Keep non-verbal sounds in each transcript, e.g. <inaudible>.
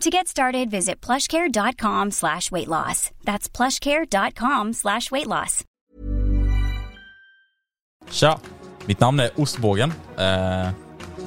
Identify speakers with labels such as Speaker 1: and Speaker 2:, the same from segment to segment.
Speaker 1: To get started, visit plushcare.com slash weight loss. That's plushcare.com slash weight loss.
Speaker 2: Tja, mitt namn är Ostbågen. Eh,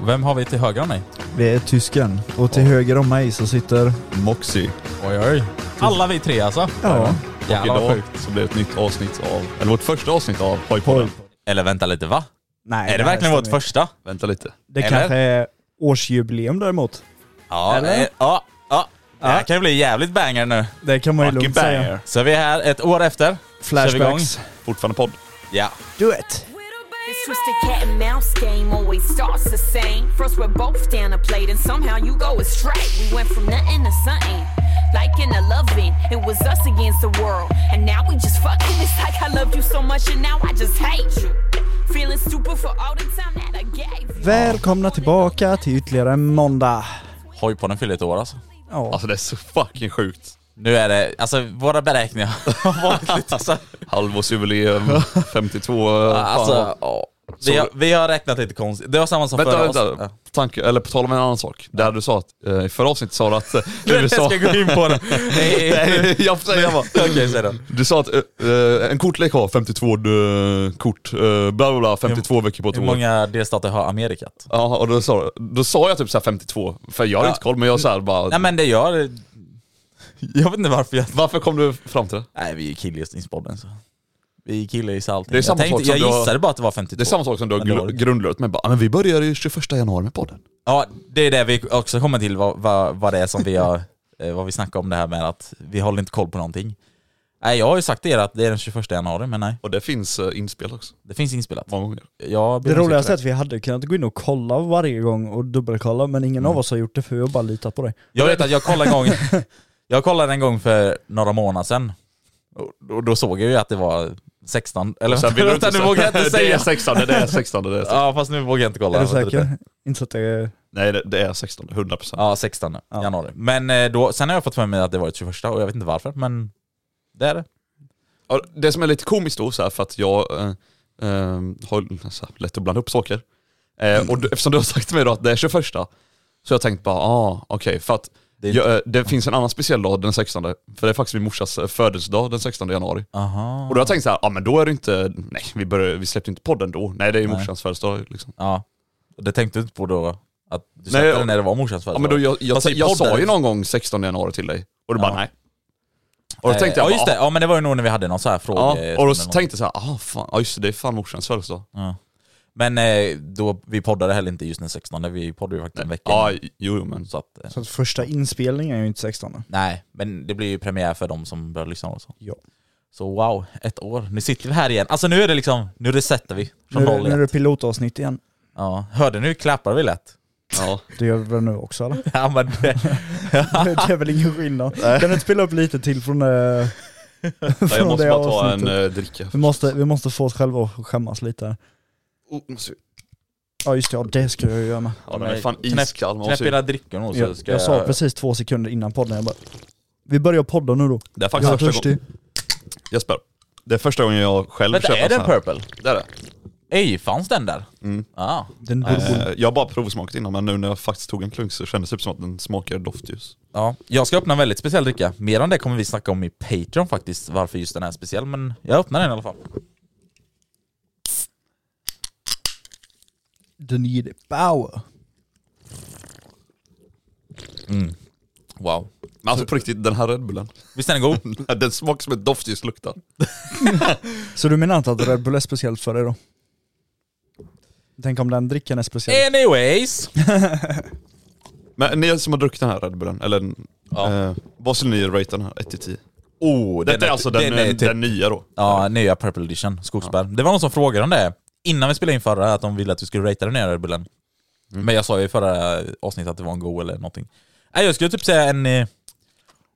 Speaker 2: vem har vi till höger om mig?
Speaker 3: Det är tysken. Och till höger om mig så sitter...
Speaker 4: Moxie.
Speaker 2: Oj, oj. Alla vi tre alltså?
Speaker 3: Ja.
Speaker 4: Och
Speaker 2: Jävlar vad
Speaker 4: idag
Speaker 2: sjukt.
Speaker 4: så blir det ett nytt avsnitt av, eller vårt första avsnitt av Hojpodden.
Speaker 2: Eller vänta lite, va?
Speaker 3: Nej,
Speaker 2: är det
Speaker 3: här
Speaker 2: verkligen vårt
Speaker 3: stämmer.
Speaker 2: första?
Speaker 4: Vänta lite.
Speaker 3: Det
Speaker 2: eller?
Speaker 3: kanske är årsjubileum däremot.
Speaker 2: Ja,
Speaker 3: Eller?
Speaker 2: eh, ja, ja. Det här kan ju bli jävligt banger nu.
Speaker 3: Det kan man ju
Speaker 4: Fucking
Speaker 3: lugnt säga.
Speaker 4: banger.
Speaker 2: Så vi är här ett år efter. Kör vi igång.
Speaker 3: Flashbacks.
Speaker 4: Fortfarande podd.
Speaker 2: Ja.
Speaker 3: Do it!
Speaker 5: This twisted cat and mouse game always starts the same. First, we're both down a plate, and somehow you go astray. We went from nothing to something, like in a loving. It was us against the world, and now we just fucking. It's like I loved you so much, and now I just hate you. Feeling stupid for all the time that I gave you.
Speaker 3: Välkomna tillbaka till ytterligare en måndag.
Speaker 2: Hojpodden fyller ett år alltså.
Speaker 3: Ja,
Speaker 4: Alltså det är så fucking sjukt.
Speaker 2: Nu är det, alltså våra beräkningar <laughs> har varit lite alltså,
Speaker 4: Halvårsjubileum, 52... fan.
Speaker 2: alltså ja. vi, har, vi har räknat lite konstigt. Det var samma som
Speaker 4: Vänta,
Speaker 2: förra
Speaker 4: vänta.
Speaker 2: avsnittet.
Speaker 4: Tanke, eller på tal om en annan sak. Där du sa att, eh, i förra avsnittet sa du att eh,
Speaker 2: Jag
Speaker 4: USA...
Speaker 2: ska gå in på det. <laughs> Nej,
Speaker 4: <laughs> Nej, jag får säga bara.
Speaker 2: Okej, <laughs> säg då.
Speaker 4: Du sa att eh, eh, en kortlek har 52 eh, kort, eh, bla bla bla, 52 veckor på ett
Speaker 2: Hur
Speaker 4: år.
Speaker 2: många delstater har Amerikat?
Speaker 4: Ja, och då sa, då sa jag typ såhär 52, för jag hade
Speaker 2: Ja.
Speaker 4: inte koll, men jag såhär bara...
Speaker 2: Nej men det gör... Jag vet inte varför jag...
Speaker 4: Varför kom du fram till det?
Speaker 2: Nej vi är killgissningspodden så. Vi är killar i allting.
Speaker 4: Det är samma
Speaker 2: jag,
Speaker 4: sak som
Speaker 2: jag
Speaker 4: du har-
Speaker 2: gissade bara att det var 52.
Speaker 4: Det är samma sak som du har
Speaker 2: Men det var
Speaker 4: gl-
Speaker 2: det.
Speaker 4: grundlört med, bara, "Ah, men vi börjar ju 21 januari med podden.
Speaker 2: Ja, det är det vi också kommer till, vad, vad, vad det är som vi har, <laughs> eh, vad vi snackar om det här med att vi håller inte koll på någonting. Nej, jag har ju sagt till er att det är den 21 januari, men nej,
Speaker 4: Och det finns uh, inspel också,
Speaker 2: det finns inspelat.
Speaker 4: många gånger.
Speaker 2: Jag ber
Speaker 3: det
Speaker 2: om
Speaker 3: roligaste är
Speaker 2: ursäkt
Speaker 3: att vi hade kunnat gå in och kolla varje gång och dubbelkolla men
Speaker 2: Mm.
Speaker 3: ingen av oss har gjort det för vi har bara litat på dig.
Speaker 2: för det. Jag vet att jag kollade en gång, jag kollade en gång för några månader sedan, och, och då såg jag ju att det var 16, eller
Speaker 4: Sen
Speaker 2: vänta,
Speaker 4: vill du
Speaker 2: vänta, nu vågar jag
Speaker 4: <laughs>
Speaker 2: inte
Speaker 4: Det är
Speaker 2: säga.
Speaker 4: 16, det är 16, det är 16.
Speaker 2: Ja fast nu vågar jag inte kolla.
Speaker 3: är du
Speaker 2: Vänta lite.
Speaker 3: säker? Inte så att det är...
Speaker 4: Nej det, det är 16, 100%.
Speaker 2: Ja, 16 januari. Men eh, då, sen har jag fått för mig att det var det 21 och jag vet inte varför, men det är det.
Speaker 4: Ja, det som är lite komiskt då, så här, för att jag eh, eh, har så här, lätt att blanda upp saker. Eh, och du, eftersom du har sagt till mig då att det är 21, så har jag tänkt bara, ah, okej, för att
Speaker 2: Det
Speaker 4: det,
Speaker 2: är
Speaker 4: jag, eh, det finns en annan speciell dag den 16, för det är faktiskt min morsas eh, födelsedag den 16 januari.
Speaker 2: Aha.
Speaker 4: Och då har jag tänkt så här, ja ah, men då är det inte, nej vi, började, vi släppte inte podden då, nej det är ju morsans födelsedag liksom.
Speaker 2: Ja. Och Det tänkte du inte på då? Att du
Speaker 4: Nej,
Speaker 2: släppte
Speaker 4: jag-
Speaker 2: den när det var morsans
Speaker 4: Ja
Speaker 2: födelsedag?
Speaker 4: men då, jag, jag,
Speaker 2: Fast i
Speaker 4: jag, sa
Speaker 2: podden-
Speaker 4: ju någon gång 16 januari till dig, och du
Speaker 2: Ja.
Speaker 4: bara nej. Och då tänkte jag
Speaker 2: Eh, Ja just
Speaker 4: bara, ah,
Speaker 2: det, ja men det var ju nog när vi hade någon så här fråga.
Speaker 4: Ja, och då
Speaker 2: eller något.
Speaker 4: tänkte jag så här, ah, fan, ja just det, det är fan morsans födelsedag.
Speaker 2: Men eh, då, vi poddade heller inte just den 16, vi poddade ju faktiskt en vecka
Speaker 4: Ja,
Speaker 2: innan.
Speaker 4: jo, jo men.
Speaker 2: Så att, eh,
Speaker 3: Så att första inspelningen är ju inte 16.
Speaker 2: nej, men det blir ju premiär för de som börjar lyssna och så.
Speaker 3: Ja.
Speaker 2: Så wow, ett år. Nu sitter vi här igen. Alltså nu är det liksom, nu resetar vi.
Speaker 3: Nu,
Speaker 2: Från
Speaker 3: är det-
Speaker 2: noll
Speaker 3: nu är det
Speaker 2: igen.
Speaker 3: pilotavsnitt igen.
Speaker 2: Ja. Hörde ni hur klappar vi lätt?
Speaker 4: Ja.
Speaker 3: Det gör vi väl nu också eller?
Speaker 2: Ja men det,
Speaker 3: det är väl ingen skillnad. Kan du inte spela upp lite till från, eh,
Speaker 4: <laughs>
Speaker 3: från
Speaker 4: jag måste
Speaker 3: det
Speaker 4: bara ta en
Speaker 3: avsnittet?
Speaker 4: eh, dricka.
Speaker 3: Vi måste, vi måste få oss själva att skämmas lite.
Speaker 4: Oh, måste vi-
Speaker 3: Ja just det, ja, det ska jag ju göra med.
Speaker 4: Ja, den är fan
Speaker 2: knäpp,
Speaker 4: iskall. man
Speaker 2: knäpp
Speaker 4: måste ju-
Speaker 2: era drickor nog så
Speaker 3: Jag,
Speaker 2: ska
Speaker 3: jag sa precis två sekunder innan podden, jag bara Vi börjar podda nu då.
Speaker 4: Det är faktiskt
Speaker 3: jag är
Speaker 4: första gången.
Speaker 3: törstig.
Speaker 4: Jesper, det är första gången jag själv
Speaker 2: Vänta,
Speaker 4: köper
Speaker 2: är
Speaker 4: en
Speaker 2: den
Speaker 4: sån här.
Speaker 2: purple?
Speaker 4: Det är det.
Speaker 2: Ej, fanns den där? Ah.
Speaker 3: Den bourbon.
Speaker 4: Eh, Jag har bara provsmakat innan men nu när jag faktiskt tog en klunk så kändes det typ som att den smakar doftljus.
Speaker 2: Ja, jag ska öppna en väldigt speciell dricka. Mer om det kommer vi snacka om i Patreon faktiskt, varför just den här är speciell. Men jag öppnar den i alla fall.
Speaker 3: Den ger dig power.
Speaker 2: Wow.
Speaker 4: Men alltså på riktigt, den här Red Bullen,
Speaker 2: Visst är den
Speaker 4: <laughs>
Speaker 2: god?
Speaker 4: den smakar som ett doftljus luktar.
Speaker 3: Så du menar inte att Red Bull är speciellt för dig då? Tänk om den drickan är speciell.
Speaker 4: Eh.
Speaker 2: Anyways!
Speaker 4: Men ni som har druckit den här Red Bullen, eller den,
Speaker 2: Ja.
Speaker 4: eh, vad skulle ni rate den här? 1 till 10?
Speaker 2: Oh,
Speaker 4: Detta är alltså den, den,
Speaker 2: är typ-
Speaker 4: nya då?
Speaker 2: Ja, nya Purple Edition, skogsbär. Det var någon som frågade om det innan vi spelade in förra, att de ville att vi skulle ratea den nya Red Bullen.
Speaker 4: Mm.
Speaker 2: Men jag sa ju i förra avsnittet att det var en god eller någonting. Nej, jag skulle typ säga en... eh,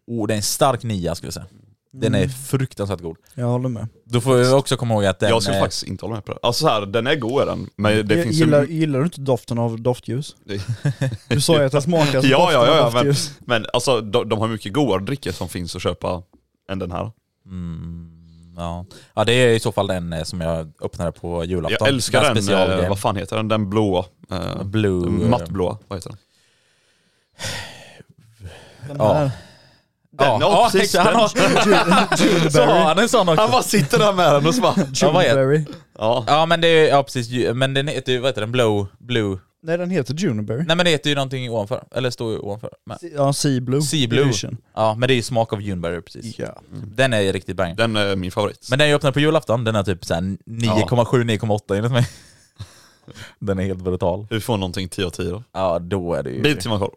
Speaker 2: Oh, det är en stark nia skulle jag säga. Den
Speaker 4: Mm.
Speaker 2: är fruktansvärt god.
Speaker 3: Jag håller med.
Speaker 2: Då får vi också komma ihåg att den...
Speaker 4: jag skulle
Speaker 2: eh,
Speaker 4: faktiskt inte hålla med på det. Alltså så här, den är god är den, men det
Speaker 3: Jag
Speaker 4: finns <laughs>
Speaker 3: gillar,
Speaker 4: ju...
Speaker 3: gillar du inte doften av doftljus?
Speaker 4: Det-
Speaker 3: Du sa ju att den smakar
Speaker 4: <laughs>
Speaker 3: som
Speaker 4: Ja,
Speaker 3: alltså
Speaker 4: ja,
Speaker 3: doften
Speaker 4: ja, ja
Speaker 3: av
Speaker 4: men,
Speaker 3: doftljus.
Speaker 4: men alltså de, de har mycket godare drycker som finns att köpa än den här.
Speaker 2: Ja. ja, det är i så fall den eh, som jag öppnade på julafton.
Speaker 4: Jag älskar den, eh,
Speaker 2: specialgrejen.
Speaker 4: vad fan heter den? Den blåa. Eh,
Speaker 2: Blue...
Speaker 4: Mattblåa, vad heter den?
Speaker 3: Den
Speaker 2: Ja.
Speaker 3: här.
Speaker 4: Den,
Speaker 2: Ja, ja, precis.
Speaker 4: <laughs>
Speaker 2: Han har... Så har han en sån också.
Speaker 4: Han bara sitter där med den och så bara...
Speaker 2: Ja, vad heter-
Speaker 3: Juniberry.
Speaker 4: Ja.
Speaker 2: Ja men det är, ja precis, ju- men den heter ju, vad heter den, Blue, Blue?
Speaker 3: Nej den heter Juniberry.
Speaker 2: Nej men det heter ju någonting ovanför, eller står ju ovanför. Men.
Speaker 3: Ja, Sea Blue.
Speaker 2: Sea Blue.
Speaker 3: Edition.
Speaker 2: Ja men det är ju smak av Juneberry precis.
Speaker 3: Ja.
Speaker 2: Den är riktigt bang.
Speaker 4: <laughs> Den är min favorit.
Speaker 2: Men den jag öppnade på julafton, den är typ såhär 9,7-9,8 enligt mig. <laughs> Den är helt brutal.
Speaker 4: Hur får någonting 10 av 10 då?
Speaker 2: Ja då är det ju...
Speaker 4: Bil till Markoolio.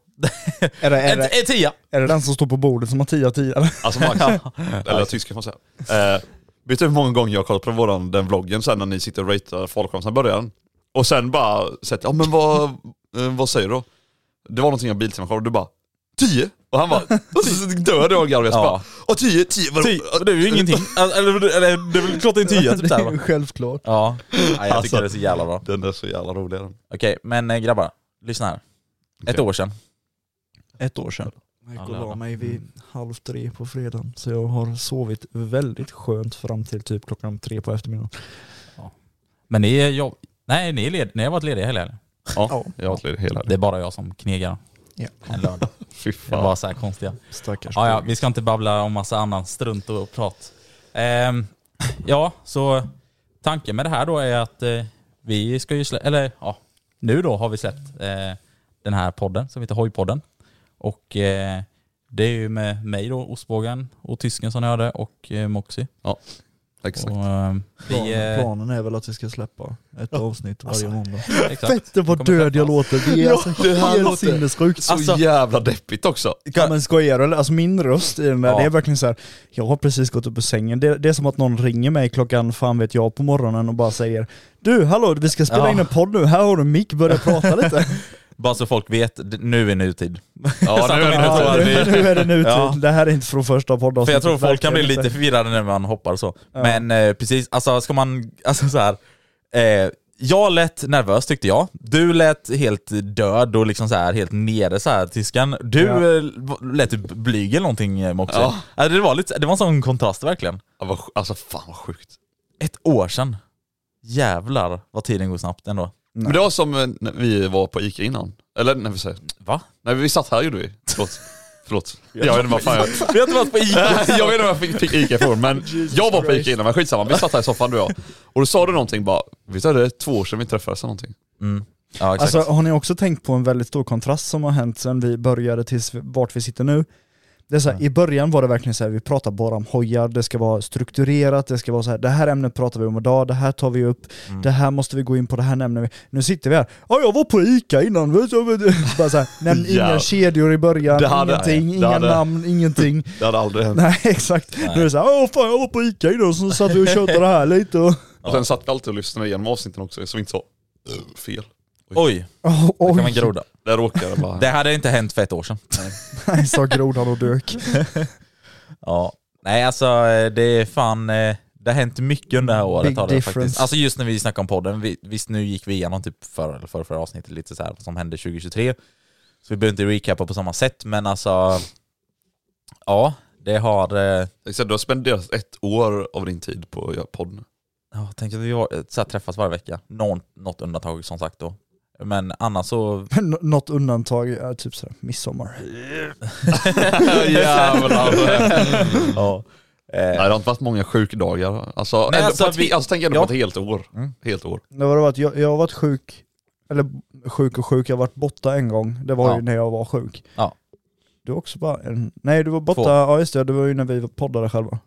Speaker 3: Är det, är,
Speaker 2: En,
Speaker 3: det,
Speaker 2: en tia!
Speaker 3: är det den som står på bordet som har 10 av <laughs> 10?
Speaker 4: Alltså Max,
Speaker 2: <laughs>
Speaker 4: eller tysk kan man säga. Eh, vet du hur många gånger jag har kollat på våran, den vloggen sen när ni sitter och ratear folk om sen början? Och sen bara sett, ja men vad, eh, vad säger du då? Det var någonting av Biltema-show och du bara 10! Och
Speaker 2: <laughs>
Speaker 4: han bara, och så dör du av garv. Jag så
Speaker 2: Ja.
Speaker 4: bara, och 10, 10, vadå?
Speaker 2: Ti- Det är ju ingenting. Alltså, <laughs> Eller, eller det är väl klart det är en tia typ
Speaker 3: det
Speaker 2: såhär
Speaker 3: är
Speaker 2: va?
Speaker 3: ju självklart.
Speaker 2: <laughs> Ja. Nej, jag tycker
Speaker 4: Alltså.
Speaker 2: det är så jävla bra.
Speaker 4: Den är så jävla rolig den.
Speaker 2: Okej, men eh, grabbar. Lyssna här. Ett
Speaker 4: Okej.
Speaker 2: år sedan.
Speaker 3: Ett år sedan. Jag gick och
Speaker 2: Ja, det
Speaker 3: la
Speaker 2: var.
Speaker 3: mig vid halv tre på fredagen, så jag har sovit väldigt skönt fram till typ klockan tre på eftermiddagen.
Speaker 2: Men ni är jobb... Nej, ni, är led... ni har varit lediga hela helgen.
Speaker 4: Ja, jag har varit hela
Speaker 2: Det är bara jag som knegar
Speaker 3: Ja.
Speaker 2: en lördag.
Speaker 4: Fy
Speaker 2: Det är
Speaker 4: fan.
Speaker 2: bara så här konstiga.
Speaker 3: Stackars.
Speaker 2: Ja, ja, vi ska inte babbla om massa annan strunt och prat. Ehm, ja, så tanken med det här då är att eh, vi ska ju släppa, eller ja, nu då har vi släppt eh, den här podden som heter Hojpodden. Och eh, det är ju med mig då, ostbågen och tysken som ni hörde och eh, Moxie.
Speaker 4: Exakt.
Speaker 2: Och, eh, vi,
Speaker 3: Planen,
Speaker 2: eh,
Speaker 3: planen är väl att vi ska släppa ett avsnitt varje måndag.
Speaker 2: exakt.
Speaker 3: Fette vad
Speaker 2: Kommer
Speaker 3: död jag
Speaker 2: träffas.
Speaker 3: låter, det är alltså
Speaker 4: det här
Speaker 3: helt
Speaker 4: låter- Alltså,
Speaker 3: sinnessjukt.
Speaker 4: Så
Speaker 2: Alltså-
Speaker 4: jävla deppigt också.
Speaker 3: Ja, men skojar du eller? Alltså min röst i den där,
Speaker 2: Ja.
Speaker 3: det är verkligen så här. jag har precis gått upp ur sängen. Det, det är som att någon ringer mig klockan fan vet jag på morgonen och bara säger Du hallå, vi ska spela
Speaker 2: Ja.
Speaker 3: in en podd nu, här har du en mick, börja prata
Speaker 2: <laughs>
Speaker 3: lite.
Speaker 2: Bara så folk vet, d- nu är nutid. <laughs>
Speaker 4: Ja, nu är det
Speaker 3: ja,
Speaker 4: så
Speaker 3: nu,
Speaker 4: här.
Speaker 3: nu är det nutid,
Speaker 2: Ja.
Speaker 3: det här är inte från första podden.
Speaker 2: För jag tror folk kan bli lite förvirrade när man hoppar så. Men eh, precis, alltså ska man, <laughs> alltså så här. Eh, jag lät nervös tyckte jag. Du lät helt död och liksom så här helt nere så här tyskan. Du
Speaker 3: Ja.
Speaker 2: eh, v- lät typ blyg eller någonting eh, Moxie.
Speaker 4: Ja.
Speaker 2: Alltså, det, var lite, det var en sån kontrast verkligen.
Speaker 4: Ja, vad sj- Alltså fan vad sjukt.
Speaker 2: Ett år sedan. Jävlar vad tiden går snabbt ändå.
Speaker 4: Men det var som eh, när vi var på Ica innan. Eller när vi säger,
Speaker 2: Va?
Speaker 4: nej vi satt här gjorde vi. <laughs> Förlåt. Förlåt. Jag vet inte vad fan jag...
Speaker 2: Vi har inte varit på
Speaker 4: <laughs>
Speaker 2: Ica.
Speaker 4: jag vet inte vad jag fick, fick Ica ifrån men jag var på Ica innan men skitsamma, vi satt här i soffan du och jag. Och då sa du någonting bara, visst är det två år sedan vi träffades eller någonting?
Speaker 2: <laughs> Ja, exakt.
Speaker 3: Alltså har ni också tänkt på en väldigt stor kontrast som har hänt sedan vi började tills vi- vart vi sitter nu? Det är så här, I början var det verkligen så här, vi pratar bara om hojar, det ska vara strukturerat, det ska vara så här, det här ämnet pratar vi om idag, det här tar vi upp,
Speaker 4: Mm.
Speaker 3: det här måste vi gå in på, det här nämner vi. Nu sitter vi här, ja jag var på Ica innan, <laughs> vet du, vet du." Bara så här, nämn
Speaker 4: Ja.
Speaker 3: inga kedjor i början,
Speaker 4: Det hade-
Speaker 3: ingenting,
Speaker 4: det
Speaker 3: inga
Speaker 4: hade-
Speaker 3: namn, ingenting.
Speaker 4: <laughs> Det hade aldrig hänt.
Speaker 3: Nej exakt, nu är det såhär, åh fan jag var på Ica innan, så satt vi och tjötade det här lite och...
Speaker 4: Och sen satt vi alltid och lyssnade igenom avsnitten också så vi inte sa eh, fel.
Speaker 2: Oj,
Speaker 3: Oh,
Speaker 2: kan
Speaker 3: oj,
Speaker 2: man groda.
Speaker 4: Där råkade jag <laughs> bara...
Speaker 2: Det hade inte hänt för ett år sedan.
Speaker 3: <laughs> nej sa grodan och dök.
Speaker 2: Ja. Nej alltså eh, det är fan, eh, det har hänt mycket under det här året
Speaker 3: Big
Speaker 2: har det faktiskt.
Speaker 3: difference.
Speaker 2: Alltså just när vi snackade om podden, vi, visst nu gick vi igenom typ förra eller förra, förra avsnittet lite så här vad som hände 2023. Så vi behöver inte recappa på samma sätt men alltså, ja Det har... Eh,
Speaker 4: Exakt, du har spenderat ett år av din tid på att göra podden.
Speaker 2: Ja, tänk att vi har, eh, så här, träffas varje vecka. Någon, något undantag som sagt då. Men annars så...
Speaker 3: Nå- Något undantag är typ såhär midsommar.
Speaker 4: Jävlar.
Speaker 2: ja.
Speaker 4: Nej, det har inte varit många sjukdagar. Alltså,
Speaker 2: Nej,
Speaker 4: eller
Speaker 2: alltså,
Speaker 4: på ett,
Speaker 2: vi-
Speaker 4: vi... alltså tänk ändå
Speaker 2: Ja.
Speaker 4: på ett helt år. Helt år.
Speaker 3: Det var det att jag, jag har varit sjuk, eller sjuk och sjuk, jag har varit borta en gång. Det var
Speaker 2: Ja.
Speaker 3: ju när jag var sjuk.
Speaker 2: Ja.
Speaker 3: Du var också bara en... Nej du var borta,
Speaker 2: Två.
Speaker 3: ja just det, det var ju när vi poddade själva.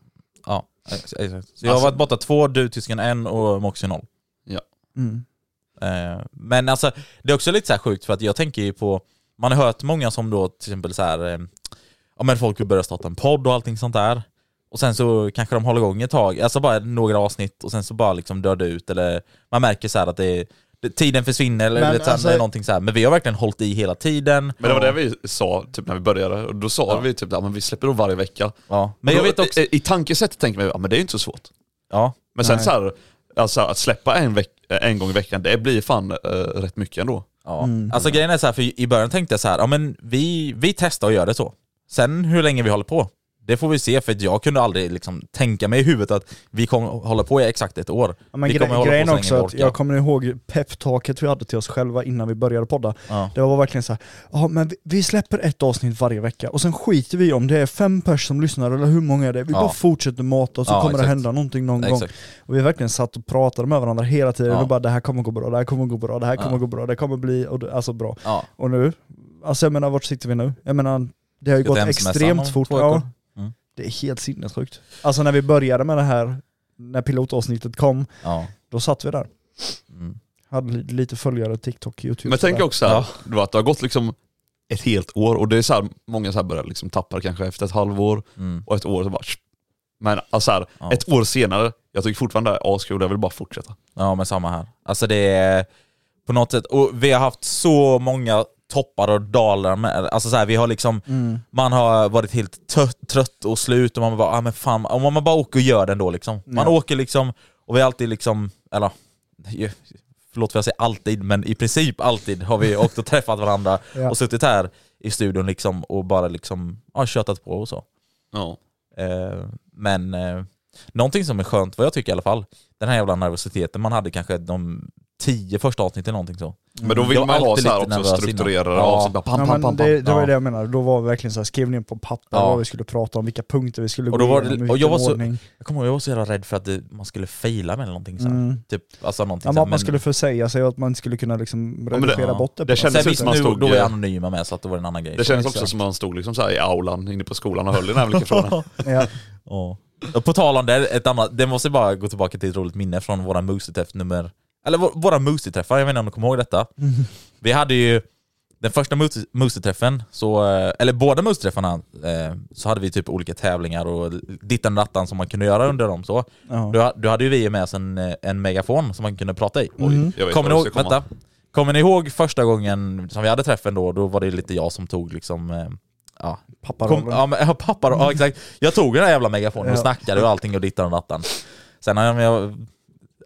Speaker 2: ja ex- exakt. Så jag
Speaker 3: Alltså-
Speaker 2: har varit borta två, du tysken en och Moxie noll.
Speaker 3: Mm.
Speaker 2: Eh, men alltså, det är också lite så här sjukt för att jag tänker ju på, man har hört många som då till exempel så här, eh, ja men folk börjar starta en podd och allting sånt där. Och sen så kanske de håller igång ett tag, alltså bara några avsnitt och sen så bara liksom dör det ut eller man märker så här att det är det- Tiden försvinner eller
Speaker 3: Men
Speaker 2: du vet, så här,
Speaker 3: alltså-
Speaker 2: det är någonting så här. men vi har verkligen hållit i hela tiden.
Speaker 4: Men det var det vi sa typ när vi började. Och då sa
Speaker 2: Ja.
Speaker 4: vi typ att men vi släpper då varje vecka.
Speaker 2: Ja. Men jag
Speaker 4: Då-
Speaker 2: vet också...
Speaker 4: I, i tankesättet tänker man ja, men det är ju inte så svårt.
Speaker 2: Ja.
Speaker 4: Men sen
Speaker 3: Nej.
Speaker 4: så här, alltså, att släppa en, veck, en gång i veckan, det blir fan eh, rätt mycket ändå.
Speaker 2: Ja.
Speaker 3: Mm.
Speaker 2: Alltså grejen är så här, för i början tänkte jag så här, ja men vi, vi testar och gör det så. Sen hur länge vi håller på, det får vi se för att jag kunde aldrig liksom tänka mig i huvudet att vi kommer hålla på i exakt ett år.
Speaker 3: Ja, men
Speaker 2: vi kommer
Speaker 3: gre-
Speaker 2: hålla
Speaker 3: grejen
Speaker 2: på så
Speaker 3: också
Speaker 2: länge vi
Speaker 3: att
Speaker 2: orkar.
Speaker 3: jag kommer ihåg peptalket vi hade till oss själva innan vi började podda.
Speaker 2: Ja.
Speaker 3: Det var verkligen så här, ja men vi, vi släpper ett avsnitt varje vecka och sen skiter vi om det är fem pers som lyssnar eller hur många är det är. Vi
Speaker 2: Ja.
Speaker 3: bara fortsätter mata och så
Speaker 2: Ja,
Speaker 3: kommer det
Speaker 2: exakt.
Speaker 3: hända någonting någon gång.
Speaker 2: Exakt.
Speaker 3: Och vi verkligen satt och pratade med varandra hela tiden
Speaker 2: Ja.
Speaker 3: och bara det här kommer gå bra, det här kommer gå bra, det här kommer
Speaker 2: Ja.
Speaker 3: gå bra, det kommer bli och det, alltså bra.
Speaker 2: Ja.
Speaker 3: Och nu, alltså jag menar vart sitter vi nu? Jag menar det har ju
Speaker 2: Ska till
Speaker 3: gått
Speaker 2: hemsemestran
Speaker 3: extremt
Speaker 2: om
Speaker 3: fort.
Speaker 2: två veckor.
Speaker 3: Ja.
Speaker 2: Mm.
Speaker 3: Det är helt sinnessjukt. Alltså när vi började med det här, när pilotavsnittet kom,
Speaker 2: Ja.
Speaker 3: då satt vi där.
Speaker 2: Mm.
Speaker 3: Hade li- lite följare, TikTok,
Speaker 2: Typ
Speaker 3: YouTube.
Speaker 4: Men tänk
Speaker 3: sådär.
Speaker 4: också här, då, att det har gått liksom ett helt år och det är så här, många så här börjar liksom tappa det kanske efter ett halvår
Speaker 2: Mm.
Speaker 4: och ett år så bara Men alltså här,
Speaker 2: Ja.
Speaker 4: ett år senare, jag tycker fortfarande det här är askul, jag vill bara fortsätta.
Speaker 2: ja men samma här. Alltså det är på något sätt, och vi har haft så många toppar och dalar med, alltså så här, vi har liksom
Speaker 3: Mm.
Speaker 2: Man har varit helt tött, trött och slut och man bara, ah, men fan, om man bara åker och gör det ändå liksom. Man
Speaker 3: Ja.
Speaker 2: åker liksom, och vi har alltid liksom, eller ju- förlåt för jag säger alltid, men i princip alltid har vi åkt och träffat varandra
Speaker 3: <laughs> Ja.
Speaker 2: och suttit här i studion liksom och bara liksom, ja tjötat på och så.
Speaker 4: Ja.
Speaker 2: Eh, men eh, någonting som är skönt, vad jag tycker i alla fall, den här jävla nervositeten man hade kanske de tio första avsnitten eller någonting så.
Speaker 4: Men då vill
Speaker 2: Mm. Jag var
Speaker 4: man ha
Speaker 2: alltid
Speaker 4: så här
Speaker 2: lite
Speaker 4: också
Speaker 2: nervös
Speaker 4: strukturerade
Speaker 2: innan. Ja.
Speaker 4: avsnitt, bara pam,
Speaker 3: Ja,
Speaker 4: pam,
Speaker 3: men
Speaker 4: pam, pam.
Speaker 3: det, det var
Speaker 2: Ja.
Speaker 3: ju det jag menade, då var vi verkligen så här, skrev ner på papper
Speaker 2: Ja.
Speaker 3: vad vi skulle prata om, vilka punkter vi skulle
Speaker 2: Och då
Speaker 3: gå
Speaker 2: var det-
Speaker 3: igenom,
Speaker 2: och jag var så-
Speaker 3: ordning.
Speaker 2: Jag kommer ihåg, jag var så jävla rädd för att det, man skulle faila med eller någonting så. här.
Speaker 3: Mm.
Speaker 2: Typ, alltså någonting
Speaker 3: Ja,
Speaker 2: så
Speaker 3: men
Speaker 2: här,
Speaker 3: att man skulle försäga sig och att man inte skulle kunna liksom
Speaker 4: men det-
Speaker 3: redigera
Speaker 2: ja.
Speaker 3: bort det. på
Speaker 4: Det
Speaker 3: något
Speaker 4: kändes
Speaker 3: sätt.
Speaker 2: Sen
Speaker 4: som
Speaker 2: visst,
Speaker 4: man
Speaker 2: nu,
Speaker 4: stod-
Speaker 2: då var jag anonyma med så att det var en annan grej.
Speaker 4: Det kändes
Speaker 2: Exakt.
Speaker 4: också som att man stod liksom så här i aulan inne på skolan och höll i den här
Speaker 2: <laughs>
Speaker 4: mikrofon.
Speaker 3: Ja.
Speaker 2: Ja. Och På tal om det, ett annat, det måste bara gå tillbaka till ett roligt minne från våra Moosey-träff nummer... Eller vå- våra Moosey-träffar, jag vet inte om du kommer ihåg detta. Vi hade ju den första Moosey- Moosey-träffen, så, eh, eller båda Moosey-träffarna, eh, så hade vi typ olika tävlingar och dittan och dattan som man kunde göra under dem. Så.
Speaker 3: Ja.
Speaker 2: Då, då hade ju vi med oss en, eh, en megafon som man kunde prata i.
Speaker 4: jag vet
Speaker 2: Kommer ni
Speaker 4: var
Speaker 2: ihåg,
Speaker 4: det ska komma.
Speaker 2: vänta. Kommer ni ihåg första gången som vi hade träffen då, då var det lite jag som tog liksom, eh, ja,
Speaker 3: Papparollen.
Speaker 2: Kom, ja, men, ja, pappa, ja, exakt. Jag tog den där jävla megafonen och
Speaker 3: Ja.
Speaker 2: snackade och allting och dittan och dattan. Sen om, jag,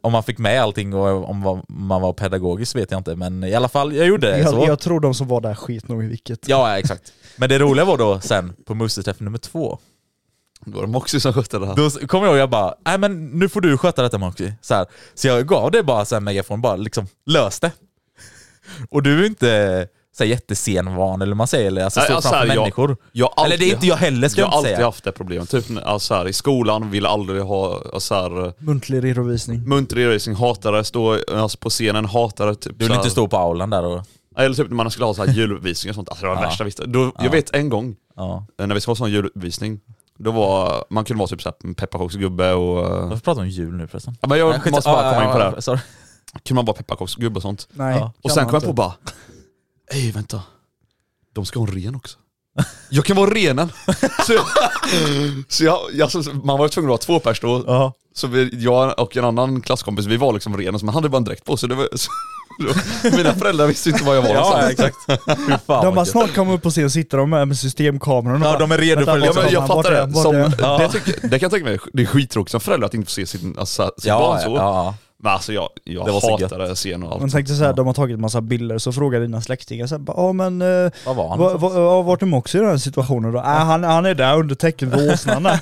Speaker 2: om man fick med allting och om vad- man var pedagogisk vet jag inte, men i alla fall, jag gjorde det. så.
Speaker 3: Jag, jag tror de som var där skit nog i vilket.
Speaker 2: Ja, exakt. Men det roliga var då sen, på Musse-träff nummer två,
Speaker 4: Då var det Moxie som skötte det här.
Speaker 2: då s- kommer jag ihåg jag bara, nej men nu får du sköta detta Moxie. Så, här. så jag gav det bara så här megafon, bara liksom lös det. Och du är inte så här, jättesenvan eller man säger, eller alltså
Speaker 4: Nej,
Speaker 2: stå
Speaker 4: alltså,
Speaker 2: framför
Speaker 4: här, jag-
Speaker 2: människor.
Speaker 4: jag har
Speaker 2: eller det är
Speaker 4: alltid-
Speaker 2: inte jag heller ska
Speaker 4: jag
Speaker 2: jag,
Speaker 4: har
Speaker 2: inte
Speaker 4: alltid
Speaker 2: säga.
Speaker 4: haft det problemet. Typ alltså här, i skolan, ville aldrig ha alltså här,
Speaker 3: Muntlig redovisning.
Speaker 4: munter i racing, hatade stå alltså, på scenen, hatade typ
Speaker 2: Du vill
Speaker 4: så
Speaker 2: inte
Speaker 4: här-
Speaker 2: stå på aulan där och...
Speaker 4: Eller typ när man skulle ha
Speaker 2: <laughs>
Speaker 4: så här juluppvisning och sånt, alltså det var det
Speaker 2: Ja.
Speaker 4: värsta visst. Då, Jag vet en gång,
Speaker 2: Ja.
Speaker 4: eh, när vi skulle ha sån juluppvisning, då var, man kunde vara typ såhär pepparkaksgubbe och... eh,
Speaker 2: Varför pratar vi om jul nu förresten?
Speaker 4: Ja, men jag
Speaker 2: skit-
Speaker 4: måste bara
Speaker 2: ja,
Speaker 4: komma
Speaker 2: ja,
Speaker 4: in på det
Speaker 2: ja,
Speaker 4: här.
Speaker 2: sorry.
Speaker 4: Kunde man vara pepparkaksgubbe och sånt.
Speaker 3: Nej.
Speaker 2: Ja.
Speaker 3: kan
Speaker 4: Och sen
Speaker 3: man
Speaker 4: kom jag
Speaker 3: inte.
Speaker 4: på bara, ej vänta, de ska ha en ren också. <laughs> Jag kan vara renen. <laughs> så jag, så jag, jag, alltså, man var ju tvungen att vara två pers då.
Speaker 2: Ja.
Speaker 4: Så vi, jag och en annan klasskompis, vi var liksom renen, så man hade bara en dräkt på sig. Det var, så, mina föräldrar visste inte var liksom. jag var
Speaker 2: Ja,
Speaker 4: någonstans.
Speaker 2: exakt. <laughs> Fy fan
Speaker 3: De
Speaker 2: vad
Speaker 3: bara
Speaker 2: gött.
Speaker 3: snart kommer upp på scen och sitter de med, med systemkameran och
Speaker 2: Ja,
Speaker 3: bara,
Speaker 2: de är redo
Speaker 3: "Vänta,
Speaker 2: för
Speaker 3: vart
Speaker 4: Ja,
Speaker 3: är
Speaker 2: liksom-
Speaker 4: men jag
Speaker 3: han?
Speaker 4: fattar
Speaker 3: Vart är han?
Speaker 4: det.
Speaker 3: Vart är
Speaker 4: Som,
Speaker 3: han?"
Speaker 2: Ja.
Speaker 4: det, tycker, det kan jag tänka mig, det är skittråkigt som förälder att inte få se sin, alltså, sitt
Speaker 2: Ja,
Speaker 4: barn så.
Speaker 2: ja, ja.
Speaker 4: Men alltså jag, jag
Speaker 6: Det var så
Speaker 4: hatade scen och
Speaker 3: Man
Speaker 4: allt.
Speaker 3: tänkte så här, de har tagit massa bilder, så frågar dina släktingar så här, bara, ja men eh,
Speaker 6: Vad var han?
Speaker 3: va, va, va, vart är Moxie i den här situationen då? Äh, han, han är där under täcket vid åsnarna.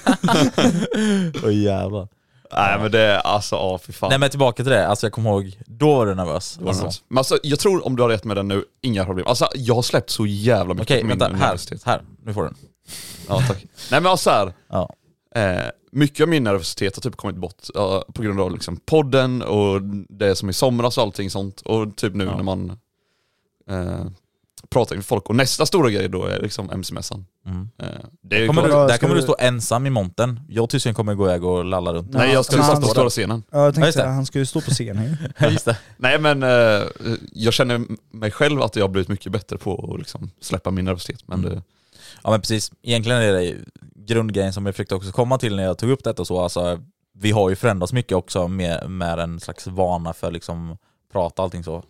Speaker 6: Åh jävlar.
Speaker 4: Nej men det är alltså, ja fy fan.
Speaker 2: Nej men tillbaka till det, alltså jag kommer ihåg, då var du nervös. Alltså.
Speaker 4: Alltså, Men alltså, jag tror om du har rätt med den nu, inga problem. Alltså jag har släppt så jävla mycket
Speaker 2: Okej,
Speaker 4: på min
Speaker 2: vänta, här,
Speaker 4: nervositet.
Speaker 2: här, nu får du den.
Speaker 4: Ja, tack. Nej men alltså här,
Speaker 2: Ja.
Speaker 4: eh, mycket av min nervositet har typ kommit bort ja, på grund av liksom podden och det som i somras och allting sånt. Och typ nu när man eh, pratar med folk. Och nästa stora grej då är liksom MC-mässan.
Speaker 2: Mm.
Speaker 4: Eh, det är
Speaker 2: Kommer du,
Speaker 4: klart-
Speaker 3: Ja,
Speaker 2: där
Speaker 3: ska
Speaker 2: kommer du
Speaker 3: du-
Speaker 2: stå ensam i montern. Jag och Tyskland kommer gå iväg och lalla runt.
Speaker 4: Nej jag skulle
Speaker 3: Ja,
Speaker 4: satsa på
Speaker 3: han-
Speaker 4: stora scenen.
Speaker 3: Ja, jag
Speaker 2: Ja,
Speaker 3: tänkte
Speaker 2: just det.
Speaker 3: så här, han ska ju stå på scen här.
Speaker 2: Just det.
Speaker 4: Nej men eh, jag känner mig själv att jag har blivit mycket bättre på att liksom släppa min nervositet. Men det,
Speaker 2: Ja men precis, egentligen är det ju grundgrejen som jag försökte också komma till när jag tog upp detta och så, alltså vi har ju förändrats mycket också med, med en slags vana för liksom prata och allting så.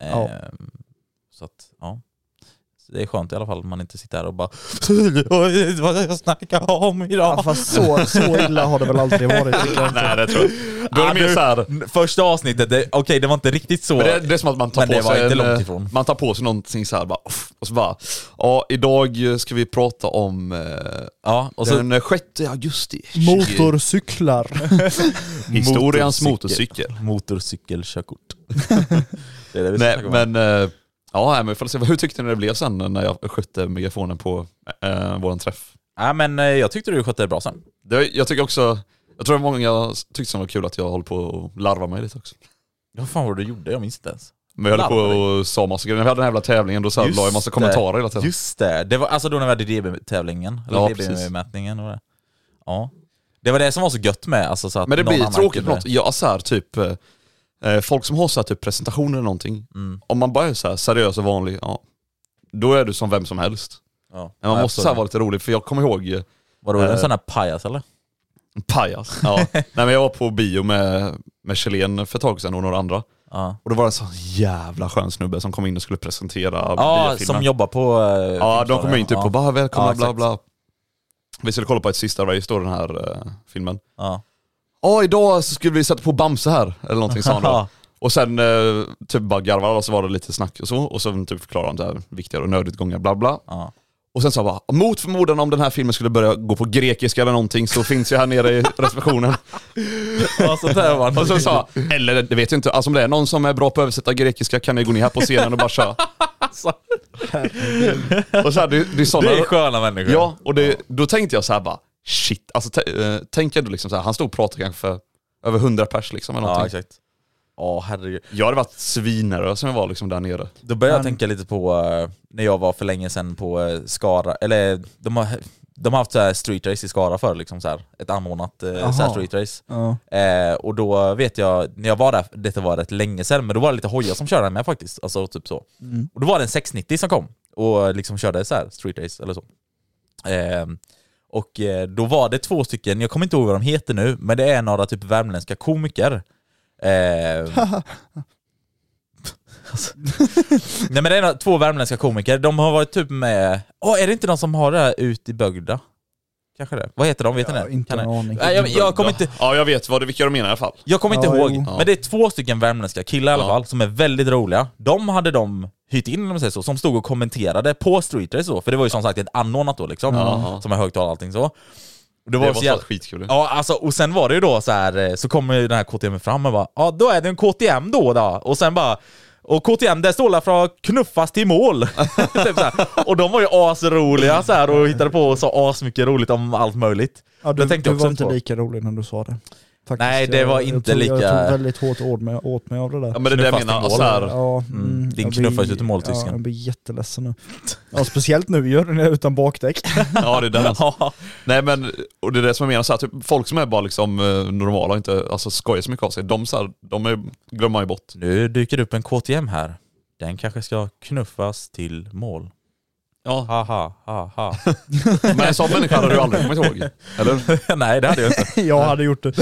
Speaker 3: Ja.
Speaker 2: Ehm, så att, ja. Så det är skönt i alla fall att man inte sitter här och bara vad jag snackar om
Speaker 3: Ja,
Speaker 2: idag.
Speaker 3: fast så, så illa har det väl aldrig
Speaker 4: <laughs>
Speaker 3: varit. tycker jag.
Speaker 4: nej det tror jag inte. Då är
Speaker 2: Ah,
Speaker 4: det mer
Speaker 2: du-
Speaker 4: såhär,
Speaker 2: Första avsnittet, det- okej det var inte riktigt så.
Speaker 4: Men det, det är som att man tar
Speaker 2: Men
Speaker 4: på
Speaker 2: det var
Speaker 4: sig
Speaker 2: inte
Speaker 4: en,
Speaker 2: långt
Speaker 4: eh,
Speaker 2: ifrån.
Speaker 4: Man tar på sig någonting så här bara, uff, och så bara, ja idag ska vi prata om eh,
Speaker 2: ja, och så,
Speaker 4: den 6 augusti.
Speaker 3: Motorcyklar.
Speaker 4: Historiens motorcykel. <laughs>
Speaker 2: Motorcykelkörkort. det är det vi ska
Speaker 4: Nej
Speaker 2: snacka om.
Speaker 4: men, eh, ja nej, men får se, hur tyckte ni det blev sen när jag skötte megafonen på eh, våran träff?
Speaker 2: Ja, men eh, jag tyckte du skötte det bra sen.
Speaker 4: Det, var- jag tycker också, jag tror det var många tyckte som var kul att jag håller på och larva mig lite också.
Speaker 2: Ja fan vad du gjorde, jag minns inte ens.
Speaker 4: Men jag höll på
Speaker 2: Larva dig?
Speaker 4: och sa massa grejer, när vi hade den här jävla tävlingen då så här,
Speaker 2: Just
Speaker 4: la jag massa
Speaker 2: det.
Speaker 4: kommentarer hela tiden.
Speaker 2: Just det, det var alltså då när vi hade DB-tävlingen, eller
Speaker 4: Ja, precis.
Speaker 2: DB-mätningen och det. Ja. Det var det som var så gött med, alltså så att
Speaker 4: Men det
Speaker 2: någon
Speaker 4: blir
Speaker 2: annan
Speaker 4: tråkigt på
Speaker 2: kunde-
Speaker 4: något. Ja, så här, typ, eh, eh, folk som har så här, typ presentationer eller någonting.
Speaker 2: Mm.
Speaker 4: Om man bara är så här seriös och vanlig, ja, då är du som vem som helst.
Speaker 2: Ja.
Speaker 4: Men man
Speaker 2: Ja,
Speaker 4: måste
Speaker 2: jag
Speaker 4: så här, vara
Speaker 2: förstår
Speaker 4: lite rolig, för jag kommer ihåg eh,
Speaker 2: det. Vadå, var du en
Speaker 4: eh,
Speaker 2: sån här pajas eller?
Speaker 4: Pajas.
Speaker 2: <laughs>
Speaker 4: Ja. Nej, men jag var på bio med, med Kjellén för ett tag sedan och några andra.
Speaker 2: Ja,
Speaker 4: Och då var det en sån jävla skön snubbe som kom in och skulle presentera
Speaker 2: ja
Speaker 4: biofilmen.
Speaker 2: som jobbar på... eh,
Speaker 4: Ja, de
Speaker 2: filmstaden.
Speaker 4: kom in typ
Speaker 2: ja.
Speaker 4: och bara välkomna
Speaker 2: Ja,
Speaker 4: bla
Speaker 2: exakt.
Speaker 4: bla. Vi skulle kolla på ett sista race då, den här eh, filmen.
Speaker 2: Ja.
Speaker 4: Ja, idag så skulle vi sätta på Bamse här, eller någonting
Speaker 2: <laughs>
Speaker 4: sa han då. Och sen eh, typ bara garvade och så var det lite snack och så. Och sen typ förklarade han det här viktiga och nödutgångar bla bla.
Speaker 2: Ja.
Speaker 4: Och sen sa han bara, mot förmodan om den här filmen skulle börja gå på grekiska eller någonting så finns jag här nere
Speaker 2: <laughs>
Speaker 4: i receptionen.
Speaker 2: Ja,
Speaker 4: <laughs>
Speaker 2: sånt där var
Speaker 4: och så sa han, eller det vet jag inte, alltså om det är någon som är bra på att översätta grekiska kan ni gå ner här på scenen och bara
Speaker 2: <laughs>
Speaker 4: köra. och så här, det, det är sådana...
Speaker 2: Det är sköna människor.
Speaker 4: Ja, och det, då tänkte jag så här bara, shit. Alltså t- eh, tänk ändå liksom så här, han stod och pratade kanske för över 100 pers liksom eller
Speaker 2: ja
Speaker 4: någonting.
Speaker 2: exakt. Ja, herregud.
Speaker 4: jag hade varit svinnerös som jag var liksom där nere.
Speaker 2: Då började jag
Speaker 3: Men-
Speaker 2: tänka lite på eh, när jag var för länge sedan på eh, Skara, eller de har, de har haft så här street race i Skara förr, liksom så här, ett anordnat eh, så här
Speaker 3: Jaha.
Speaker 2: street race.
Speaker 3: Ja.
Speaker 2: Eh, och då vet jag, när jag var där, detta var rätt länge sedan, men då var det lite hojar som körde med faktiskt. Alltså typ så.
Speaker 3: Mm.
Speaker 2: Och då var det en 690 som kom och liksom körde så här street race eller så. Eh, och eh, då var det två stycken, jag kommer inte ihåg vad de heter nu, men det är några typ värmländska komiker. Eh, <laughs> Alltså. Nej men det är några- två värmländska komiker, de har varit typ med, åh är det inte de som har det här ute i Bögda? Kanske det? Vad heter de? Vet ni
Speaker 3: Ja,
Speaker 2: det?
Speaker 3: inte
Speaker 2: Kan ni?
Speaker 3: en aning.
Speaker 2: Nej, jag, jag kommer inte,
Speaker 4: Ja, jag vet vad, vilka de menar i alla fall.
Speaker 2: jag kommer inte
Speaker 3: Ja,
Speaker 2: ihåg,
Speaker 3: jo.
Speaker 2: men det är två stycken värmländska killar i alla
Speaker 4: Ja.
Speaker 2: fall som är väldigt roliga. De hade de hyrt in, om man säger så, som stod och kommenterade på Street Race då, för det var ju som sagt ett anordnat då liksom,
Speaker 4: Ja.
Speaker 2: som har högtalare och allting så. Det
Speaker 4: Det
Speaker 2: var,
Speaker 4: var,
Speaker 2: så
Speaker 4: så
Speaker 2: jävla...
Speaker 4: skitkul.
Speaker 2: Ja, alltså, och sen var det ju då så här, eh, så kommer ju den här KTM fram och bara ja, då är det en KTM då då. Och sen bara och KTM, det står från knuffas till mål. <laughs> typ så här. Och de var ju asroliga så här och hittade på och sa asmycket roligt om allt möjligt.
Speaker 3: Ja, du
Speaker 2: Det tänkte
Speaker 3: du
Speaker 2: jag också
Speaker 3: var inte
Speaker 2: på.
Speaker 3: lika rolig när du sa det. Faktiskt,
Speaker 2: Nej, det var
Speaker 3: jag,
Speaker 2: inte
Speaker 3: jag tog,
Speaker 2: lika-
Speaker 3: Jag tog väldigt hårt åt mig, åt mig av det där.
Speaker 4: Ja men det är det jag
Speaker 2: Knuffas
Speaker 4: menar, alltså
Speaker 2: till mål.
Speaker 4: här,
Speaker 3: Ja,
Speaker 2: Mm, din
Speaker 3: jag
Speaker 2: knuffas
Speaker 3: blir-
Speaker 2: ut i mål,
Speaker 3: ja,
Speaker 2: tysken.
Speaker 3: Jag blir jätteledsen nu. Ja, speciellt nu, gör den det utan bakdäck. <laughs>
Speaker 4: ja det är den.
Speaker 2: <laughs> Ja.
Speaker 4: Nej men, och det är det som jag menar, så här, typ, folk som är bara liksom eh, normala och inte alltså, skojar så mycket av sig, de, så här, de är, glömmer man ju bort.
Speaker 2: Nu dyker det upp en KTM här. Den kanske ska knuffas till mål.
Speaker 4: Ja.
Speaker 2: Ha ha ha ha.
Speaker 4: Men en sån människa hade du aldrig kommit ihåg. Eller?
Speaker 2: <laughs> Nej det hade jag inte.
Speaker 3: jag hade gjort
Speaker 2: <laughs>
Speaker 3: det.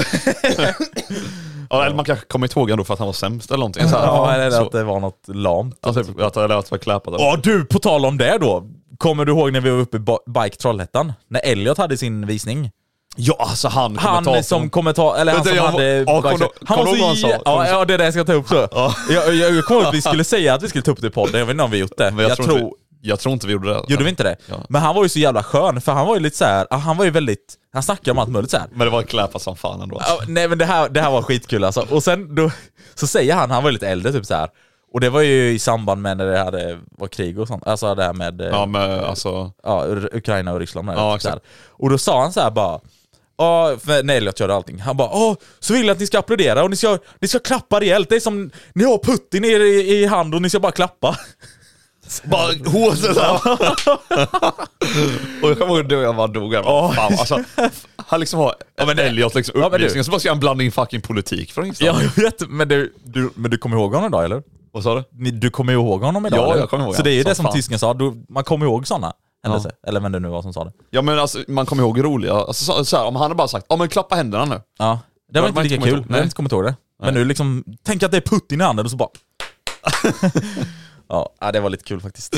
Speaker 4: Ja, eller man kanske kommit ihåg ändå för att han var sämst eller någonting. Så här,
Speaker 2: Ja, eller
Speaker 4: så.
Speaker 2: att det var något lamt.
Speaker 4: Ja, typ, att, eller att det var kläpat.
Speaker 2: Ja du, på tal om det då. Kommer du ihåg när vi var uppe i Ba- Bike Trollhättan? När Elliot hade sin visning.
Speaker 4: Ja, alltså han, kommentatorn.
Speaker 2: Han som kommentar, eller han
Speaker 4: Vänta,
Speaker 2: som
Speaker 4: jag-
Speaker 2: hade...
Speaker 4: ja, kom då-
Speaker 2: han
Speaker 4: kom
Speaker 2: var
Speaker 4: då
Speaker 2: så
Speaker 4: vad han sa?
Speaker 2: jä-
Speaker 4: Kom
Speaker 2: ja,
Speaker 4: då.
Speaker 2: ja, det är det jag ska ta upp så.
Speaker 4: Ja.
Speaker 2: Jag, jag, jag kommer ihåg
Speaker 4: <laughs>
Speaker 2: att vi skulle säga att vi skulle ta upp det i podden, jag vet inte om vi gjort det.
Speaker 4: Men jag, tror... inte vi- jag tror inte vi gjorde det.
Speaker 2: Gjorde vi inte det?
Speaker 4: Ja.
Speaker 2: Men han var ju så jävla skön, för han var ju lite så här, ah, han var ju väldigt, han snackade om allt möjligt så här.
Speaker 4: Men det var kläpat som fan ändå.
Speaker 2: Ja, nej men det här, det här var skitkul alltså. Och sen då, så säger han, han var ju lite äldre typ så här. och det var ju i samband med när det hade, var krig och sånt, alltså det här med, eh,
Speaker 4: Ja men alltså,
Speaker 2: ja, Ur- Ukraina och Ryssland. Där,
Speaker 4: Ja,
Speaker 2: typ så här.
Speaker 4: exakt.
Speaker 2: Och då sa han så här bara, Ja, för när Elliot körde allting. Han bara Åh, så vill jag att ni ska applådera och ni ska, ni ska klappa rejält. Det är som, ni har Putin i, i, i hand och ni ska bara klappa.
Speaker 4: bara hårt sådär. och jag kommer ihåg då jag bara dog här. Fan, alltså, han liksom har ja, men Elliot liksom
Speaker 2: men du-
Speaker 4: upplysningar, så bara ska han blanda in fucking politik från ingenstans.
Speaker 2: Ja, jag vet. Men du, du, men du kommer ihåg honom idag eller?
Speaker 4: Vad sa du?
Speaker 2: Ni, du kommer ihåg honom idag
Speaker 4: Ja,
Speaker 2: eller?
Speaker 4: jag kommer ihåg
Speaker 2: Så det är ju
Speaker 4: honom
Speaker 2: det
Speaker 4: som
Speaker 2: som
Speaker 4: fan.
Speaker 2: tysken sa, du, man kommer ihåg sådana händelser. Eller vem det nu var som sa det.
Speaker 4: Ja men alltså, man kommer ihåg roliga, alltså, så, så här, om han hade bara sagt ja men klappa händerna nu.
Speaker 2: Ja. Det
Speaker 4: Man-
Speaker 2: var
Speaker 4: man
Speaker 2: inte lika
Speaker 4: kommer inte
Speaker 2: kul,
Speaker 4: ihåg-
Speaker 2: jag
Speaker 4: nej.
Speaker 2: har inte kommit ihåg det. Men nu liksom, tänk att det är Putin i handen och så <laughs> bara... ja, ja, det var lite kul faktiskt.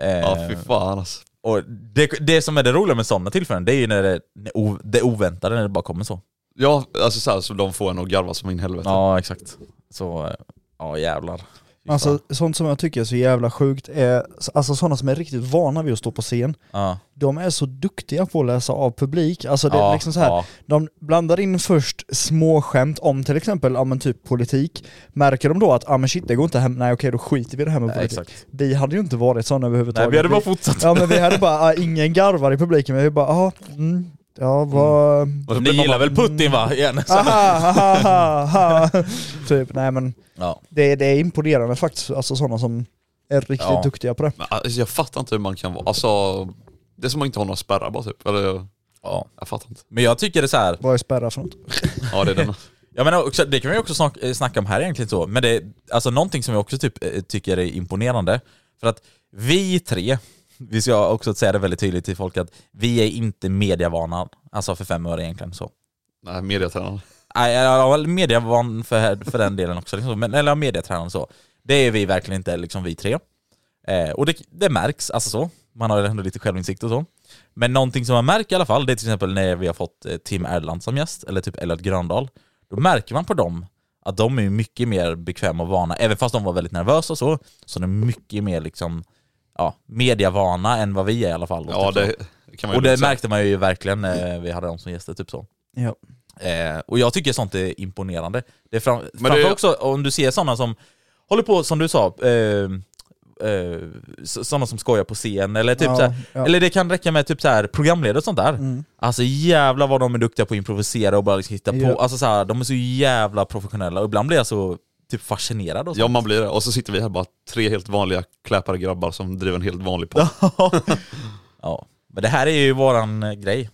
Speaker 2: Eh,
Speaker 4: Ja fy fan alltså.
Speaker 2: Och det, det som är det roliga med sådana tillfällen, det är ju när det, när o- det oväntade, när det bara kommer så.
Speaker 4: Ja alltså så, här, så de får en att garva som in i helvete.
Speaker 2: Ja, exakt. Så, eh, ja jävlar. Fy
Speaker 3: Alltså
Speaker 2: fan.
Speaker 3: sånt som jag tycker är så jävla sjukt är, alltså sådana som är riktigt vana vid att stå på scen,
Speaker 2: ja.
Speaker 3: de är så duktiga på att läsa av publik. Alltså det är
Speaker 2: Ja,
Speaker 3: liksom så här,
Speaker 2: ja.
Speaker 3: de blandar in först små skämt om till exempel, ja men typ politik. Märker de då att, ja men shit det går inte hem, nej okej då skiter vi i det här med
Speaker 2: Nej,
Speaker 3: politik.
Speaker 2: exakt.
Speaker 3: Vi hade ju inte varit sådana överhuvudtaget.
Speaker 2: Nej, vi hade bara fortsatt.
Speaker 3: Ja men vi hade bara, ah, ingen garvar i publiken, men vi bara, ah, mm, ja vad... <laughs>
Speaker 4: Och så
Speaker 2: Ni
Speaker 4: blir man
Speaker 2: gillar väl Putin va? Igen.
Speaker 3: Aha, aha, aha, aha. typ, nej men
Speaker 2: Ja.
Speaker 3: det, det är imponerande faktiskt, alltså sådana som är riktigt
Speaker 2: Ja.
Speaker 3: duktiga på det.
Speaker 4: Men, Alltså, jag fattar inte hur man kan vara, alltså det är som att man inte har några spärrar bara typ. Eller jag,
Speaker 2: ja.
Speaker 4: jag fattar inte.
Speaker 2: Men jag tycker det är så här,
Speaker 3: Vad är spärrar för något?
Speaker 4: Ja det är <laughs> den.
Speaker 2: Jag menar också, det kan vi också snack, eh, snacka om här egentligen så, men det alltså någonting som jag också typ, eh, tycker är imponerande, för att vi tre, vi ska också säga det väldigt tydligt till folk att vi är inte mediavana, alltså för fem öre egentligen så.
Speaker 4: Nej mediatränaren.
Speaker 2: Nej, ja, ja, mediavan för, för den delen också, liksom, men, eller mediatränaren så. Det är vi verkligen inte, liksom vi tre. Eh, och det, det märks, alltså så. Man har ju ändå lite självinsikt och så. Men någonting som man märker i alla fall, det är till exempel när vi har fått eh, Tim Erland som gäst, eller typ Elliot Gröndal. Då märker man på dem att de är mycket mer bekväma och vana, även fast de var väldigt nervösa och så, så de är mycket mer liksom, ja, mediavana än vad vi är i alla fall.
Speaker 4: Ja
Speaker 2: Typ så.
Speaker 4: det kan man ju
Speaker 2: Och det
Speaker 4: lugnt säga.
Speaker 2: märkte man ju verkligen när vi hade dem som gäster, typ så.
Speaker 3: Ja.
Speaker 2: Eh, och jag tycker sånt är imponerande. Det är fram,
Speaker 4: det-
Speaker 2: framför också om du ser sådana som håller på, som du sa, eh, eh, så- sådana som skojar på scen eller typ
Speaker 3: Ja,
Speaker 2: så här,
Speaker 3: ja. Mm.
Speaker 2: Eller det kan räcka med typ så här, programledare och sånt där. Alltså jävla vad de är duktiga på att improvisera och bara liksom hitta
Speaker 3: Ja.
Speaker 2: på. Alltså så här, de är så jävla professionella och ibland blir jag så typ fascinerad och
Speaker 4: Ja
Speaker 2: sånt.
Speaker 4: man blir det. Och så sitter vi här bara tre helt vanliga kläpare grabbar som driver en helt vanlig
Speaker 3: <laughs>
Speaker 4: podd.
Speaker 2: Ja. Men det här är ju våran eh, grej.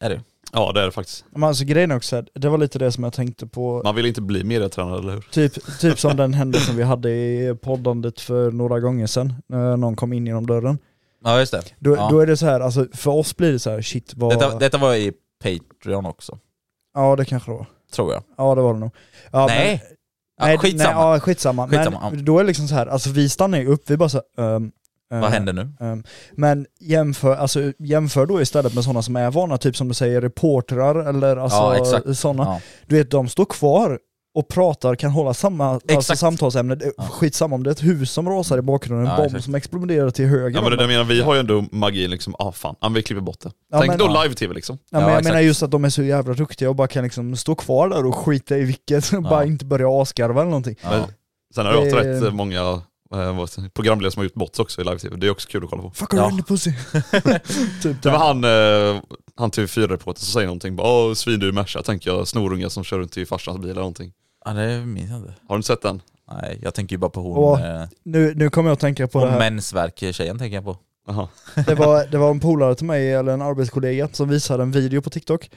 Speaker 2: Är det?
Speaker 4: Ja det är det faktiskt.
Speaker 3: Men alltså grejen är också, att det var lite det som jag tänkte på,
Speaker 4: Man vill inte bli mediatränare eller hur?
Speaker 3: typ, typ som den händelsen vi hade i poddandet för några gånger sedan, när någon kom in genom dörren.
Speaker 2: Ja just det.
Speaker 3: Då,
Speaker 2: ja.
Speaker 3: då är det så här, alltså för oss blir det så här, shit vad...
Speaker 2: detta, detta var i Patreon också,
Speaker 3: Ja det kanske det var.
Speaker 2: tror jag.
Speaker 3: Ja det var det nog. Ja, men-
Speaker 2: nej! Ja,
Speaker 3: nej,
Speaker 2: skitsamma.
Speaker 3: Nej, ja, skitsamma.
Speaker 2: Skitsamma,
Speaker 3: Men då är det liksom så här, alltså vi stannar ju upp, vi bara så här, ehm, ehm,
Speaker 2: Vad händer nu?
Speaker 3: ehm. men jämför, alltså, jämför då istället med sådana som är vana, typ som du säger reportrar eller
Speaker 2: Ja,
Speaker 3: alltså
Speaker 2: exakt.
Speaker 3: sådana.
Speaker 2: Ja.
Speaker 3: Du vet, de står kvar och pratar, kan hålla samma alltså,
Speaker 2: Exakt.
Speaker 3: samtalsämne. Det- Skitsamma om det är ett hus som rasar i bakgrunden, en
Speaker 2: Ja,
Speaker 3: bomb
Speaker 2: exakt.
Speaker 3: som exploderar till höger.
Speaker 4: Ja men det där menar, vi har ju ändå magin liksom, ah fan, ja, men vi klipper bort det.
Speaker 3: Ja,
Speaker 4: Tänk
Speaker 3: men-
Speaker 4: då
Speaker 3: ja.
Speaker 4: live-tv liksom.
Speaker 3: Ja, men
Speaker 2: Ja,
Speaker 3: jag
Speaker 2: exakt.
Speaker 3: menar just att de är så jävla duktiga och bara kan liksom stå kvar där och skita i vilket, <laughs> bara inte börja asgarva eller någonting.
Speaker 2: Ja.
Speaker 4: Men sen har jag haft
Speaker 3: Det-
Speaker 4: rätt eh, många eh, vad heter det, programledare som har gjort bots också i live-tv, det är också kul att kolla på.
Speaker 3: Fuck ja.
Speaker 2: Ja.
Speaker 3: in the
Speaker 2: <laughs>
Speaker 3: pussy. typ
Speaker 4: Det var
Speaker 3: där.
Speaker 4: han, eh, han TV4-reportern som säger någonting, bara åh svindyr Merca, tänker jag, snorungar som kör runt i farsans bil eller någonting.
Speaker 2: Ja, det minns jag inte.
Speaker 4: Har du inte sett den?
Speaker 2: Nej, jag tänker ju bara på hon...
Speaker 3: Åh,
Speaker 2: eh,
Speaker 3: Nu, nu kommer jag att tänka på det
Speaker 2: hon
Speaker 3: här.
Speaker 2: mensvärk-tjejen tänker jag på.
Speaker 4: Aha.
Speaker 3: Det var, det var en polare till mig, eller en arbetskollega, som visade en video på TikTok.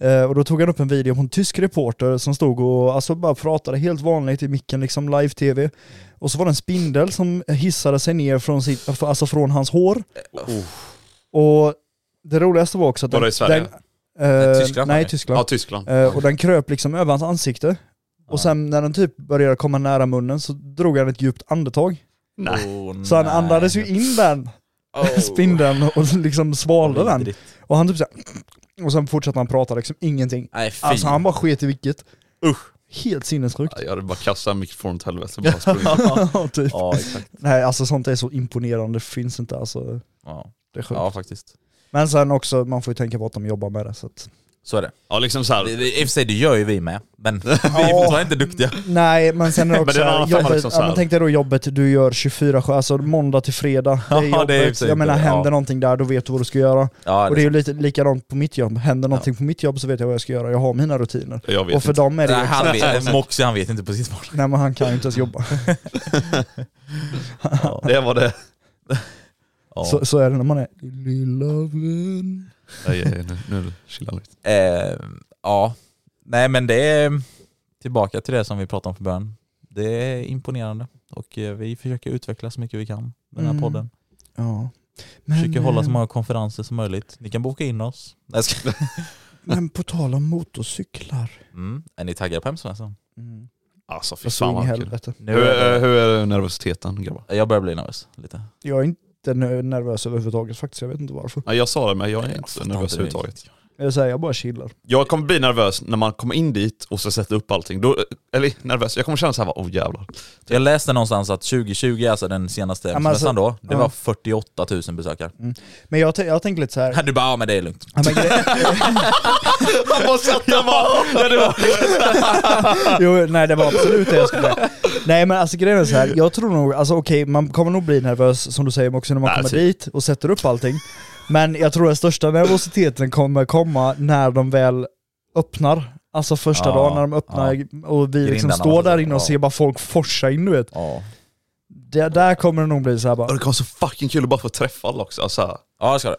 Speaker 3: Eh, och då tog han upp en video på en tysk reporter som stod och alltså, bara pratade helt vanligt i micken, liksom live-tv. Och så var det en spindel som hissade sig ner från, sitt, alltså, från hans hår. Och det roligaste var också att...
Speaker 4: Var det i Sverige?
Speaker 3: den, eh,
Speaker 2: Tyskland,
Speaker 3: nej,
Speaker 2: nej.
Speaker 3: Tyskland.
Speaker 4: Ja, Tyskland.
Speaker 3: Eh, och den kröp liksom över hans ansikte. Och sen när den typ började komma nära munnen så drog han ett djupt andetag.
Speaker 4: Nej.
Speaker 2: Åh,
Speaker 3: Så han
Speaker 2: nej.
Speaker 3: andades ju in den <laughs>
Speaker 2: Åh.
Speaker 3: spindeln och liksom svalde den.
Speaker 2: Vidrigt.
Speaker 3: Och han typ såhär, <clears throat> Och sen fortsatte han prata liksom ingenting.
Speaker 6: Nej fy.
Speaker 3: Alltså han bara sket i vilket.
Speaker 4: Usch.
Speaker 3: Helt sinnessjukt.
Speaker 4: Jag hade bara kastat mikrofonen åt helvete. Bara <laughs> sprungit.
Speaker 3: <laughs> Ja, typ.
Speaker 6: Ja exakt.
Speaker 3: Nej alltså sånt är så imponerande, det finns inte alltså.
Speaker 2: Ja,
Speaker 3: Det är sjukt.
Speaker 2: ja faktiskt.
Speaker 3: Men sen också, man får ju tänka på att de jobbar med det
Speaker 4: <laughs>
Speaker 3: så att...
Speaker 2: Så är det.
Speaker 4: ja liksom så
Speaker 2: I
Speaker 4: här.
Speaker 2: i och för sig, det gör ju vi med. Men vi är
Speaker 3: Ja.
Speaker 2: fortfarande inte duktiga.
Speaker 3: Nej men sen är det
Speaker 4: Men
Speaker 3: också,
Speaker 4: det är en annan femma
Speaker 3: jobbet,
Speaker 4: liksom så
Speaker 3: ja,
Speaker 4: här.
Speaker 3: men tänk dig då jobbet du gör 24 alltså måndag till fredag.
Speaker 4: <laughs>
Speaker 3: Det är
Speaker 2: Ja, det är
Speaker 3: jobbet.
Speaker 2: i och för sig
Speaker 3: jag menar
Speaker 2: inte-
Speaker 3: händer
Speaker 2: ja.
Speaker 3: någonting där, då vet du vad du ska göra.
Speaker 2: Ja,
Speaker 3: och det är ju lite likadant på mitt jobb, händer någonting på mitt jobb så vet jag vad jag ska göra, jag har mina rutiner.
Speaker 4: Jag vet
Speaker 3: Och för
Speaker 4: inte.
Speaker 3: dem är det ju
Speaker 2: Nej, han
Speaker 3: exakt samma
Speaker 2: vet,
Speaker 3: sak.
Speaker 2: Moxie han vet inte precis vart.
Speaker 3: Nej men han kan ju inte ens jobba.
Speaker 4: Det var det.
Speaker 2: <laughs> Ja.
Speaker 3: Så, så är det när man är lilla vän.
Speaker 4: Nej, nej, nej, nu, nu chillar lite.
Speaker 2: Eh, ja, nej men det är mm, tillbaka till det som vi pratade om för början. Det är imponerande och eh, vi försöker utveckla så mycket vi kan med den här
Speaker 3: Mm.
Speaker 2: podden.
Speaker 3: Ja. Men,
Speaker 2: Försöker hålla så
Speaker 3: eh,
Speaker 2: många konferenser som möjligt. Ni kan boka in oss. Nej, jag ska-
Speaker 3: Men på tal om motorcyklar.
Speaker 2: Mm. Är ni taggade på hemsvenskan?
Speaker 3: Mm.
Speaker 4: Alltså fy
Speaker 3: Jag så
Speaker 4: fan
Speaker 3: in i
Speaker 4: vad kul.
Speaker 3: helvete. Eh,
Speaker 2: Nu
Speaker 4: Hur
Speaker 2: är
Speaker 4: är,
Speaker 2: det-
Speaker 4: hur är nervositeten grabbar?
Speaker 2: Jag börjar bli nervös lite.
Speaker 3: Jag är inte nö- nervös överhuvudtaget faktiskt, jag vet inte varför.
Speaker 4: Ja, jag sa det men jag är inte
Speaker 2: fattar
Speaker 4: nervös
Speaker 2: inte riktigt.
Speaker 4: överhuvudtaget.
Speaker 3: Jag, säger, jag bara chillar.
Speaker 4: Jag kommer bli nervös när man kommer in dit och så sätter upp allting. Då, eh, eller nervös, jag kommer känna så här, bara, oh <laughs> jävlar.
Speaker 2: Jag läste någonstans att 2020, alltså den senaste
Speaker 3: men alltså-
Speaker 2: hemsmässan då, det
Speaker 3: ja. Mm.
Speaker 2: var 48 000 besökare.
Speaker 3: Men jag, tän- jag tänker lite så här.
Speaker 2: <laughs> Du bara, ja men det är lugnt.
Speaker 3: Ja, men
Speaker 2: <laughs>
Speaker 3: gre-
Speaker 4: Han bara satt där bara, det <laughs> var...
Speaker 3: jo, nej det var absolut det jag skulle säga. Nej men alltså grejen är så här. jag tror nog, alltså okej man kommer nog bli nervös som du säger också när man
Speaker 4: Nej,
Speaker 3: kommer
Speaker 4: typ.
Speaker 3: dit och sätter upp allting. Men jag tror den största nervositeten kommer komma när de väl öppnar. Alltså första
Speaker 2: Ja,
Speaker 3: dagen när de öppnar och vi liksom
Speaker 2: Grindarna,
Speaker 3: står där inne och
Speaker 2: ja.
Speaker 3: ser bara folk forsa in du vet.
Speaker 2: Ja,
Speaker 3: Det, där kommer det nog bli så här
Speaker 4: Och
Speaker 3: bara,
Speaker 4: det kommer så fucking kul att bara få träffa alla också. Alltså, så här.
Speaker 2: ja det ska det.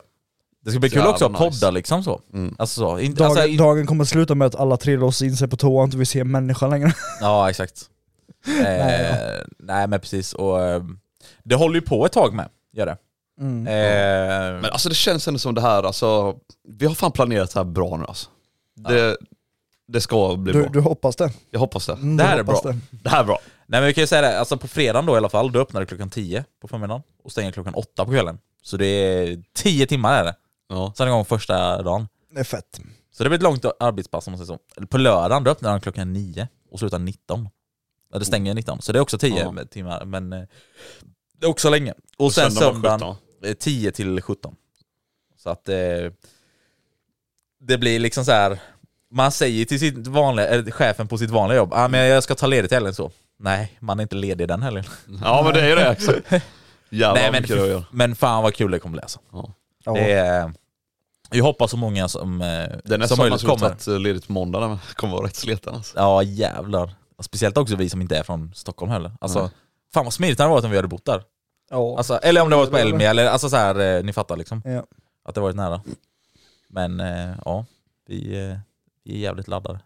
Speaker 2: Det ska bli kul
Speaker 4: Jävla
Speaker 2: också att
Speaker 4: nice.
Speaker 2: podda liksom så. Alltså så. Inte,
Speaker 3: dagen,
Speaker 2: alltså, i-
Speaker 3: dagen kommer sluta med att alla tre låser in sig på toa och inte vill se en människa längre. <laughs>
Speaker 2: Ja, exakt. Eh, nej, men precis. Och, eh, det håller ju på ett tag med, gör det.
Speaker 3: Mm.
Speaker 2: Eh,
Speaker 4: Men alltså det känns ändå som det här, alltså, vi har fan planerat det här bra nu alltså. Det, det ska bli
Speaker 3: Du,
Speaker 4: bra.
Speaker 3: du hoppas det?
Speaker 4: Jag hoppas det.
Speaker 3: Mm,
Speaker 2: Det
Speaker 3: du
Speaker 2: här är
Speaker 3: hoppas
Speaker 2: bra.
Speaker 3: det.
Speaker 4: Det här är bra.
Speaker 2: nej men vi kan ju säga det, alltså på fredagen då i alla fall, då öppnar det klockan 10 på förmiddagen och stänger klockan 8 på kvällen. Så det är 10 timmar är det.
Speaker 4: Ja.
Speaker 2: Sen igång första dagen.
Speaker 3: Det är fett.
Speaker 2: Så det blir ett långt arbetspass om man säger så. Eller På lördagen då öppnar de klockan 9 och slutar 19. Ja, det stänger 19, så det är också 10
Speaker 4: Ja.
Speaker 2: timmar. Men eh, det är också länge. Och, sen
Speaker 4: söndag var
Speaker 2: söndagen,
Speaker 4: 17.
Speaker 2: eh, 10 till 17. Så att eh, det blir liksom så här. Man säger till sitt vanliga, eller chefen på sitt vanliga jobb, ah, men jag ska ta ledigt i helgen så. Nej, man är inte ledig den helgen.
Speaker 4: Ja men det är ju det. exakt. Jävlar
Speaker 2: <laughs> Nej,
Speaker 4: vad
Speaker 2: men,
Speaker 4: mycket det gör.
Speaker 2: men fan vad kul det kommer bli alltså.
Speaker 3: Ja.
Speaker 2: Det är, jag hoppas så många som, eh,
Speaker 4: Den är
Speaker 2: som
Speaker 4: som man
Speaker 2: möjligt
Speaker 4: skulle
Speaker 2: kommer.
Speaker 4: tagit eh, ledigt på måndagen men kommer vara rätt sliten alltså.
Speaker 2: Ja jävlar. Och Speciellt också vi som inte är från Stockholm heller. Alltså, Fan vad smidigt det hade varit om vi hade bott där.
Speaker 3: Ja.
Speaker 2: Alltså, eller om det varit på Elmia, eller alltså så här, eh, ni fattar liksom.
Speaker 3: Ja.
Speaker 2: Att det varit nära. Men eh, ja, vi, eh, vi är jävligt laddade.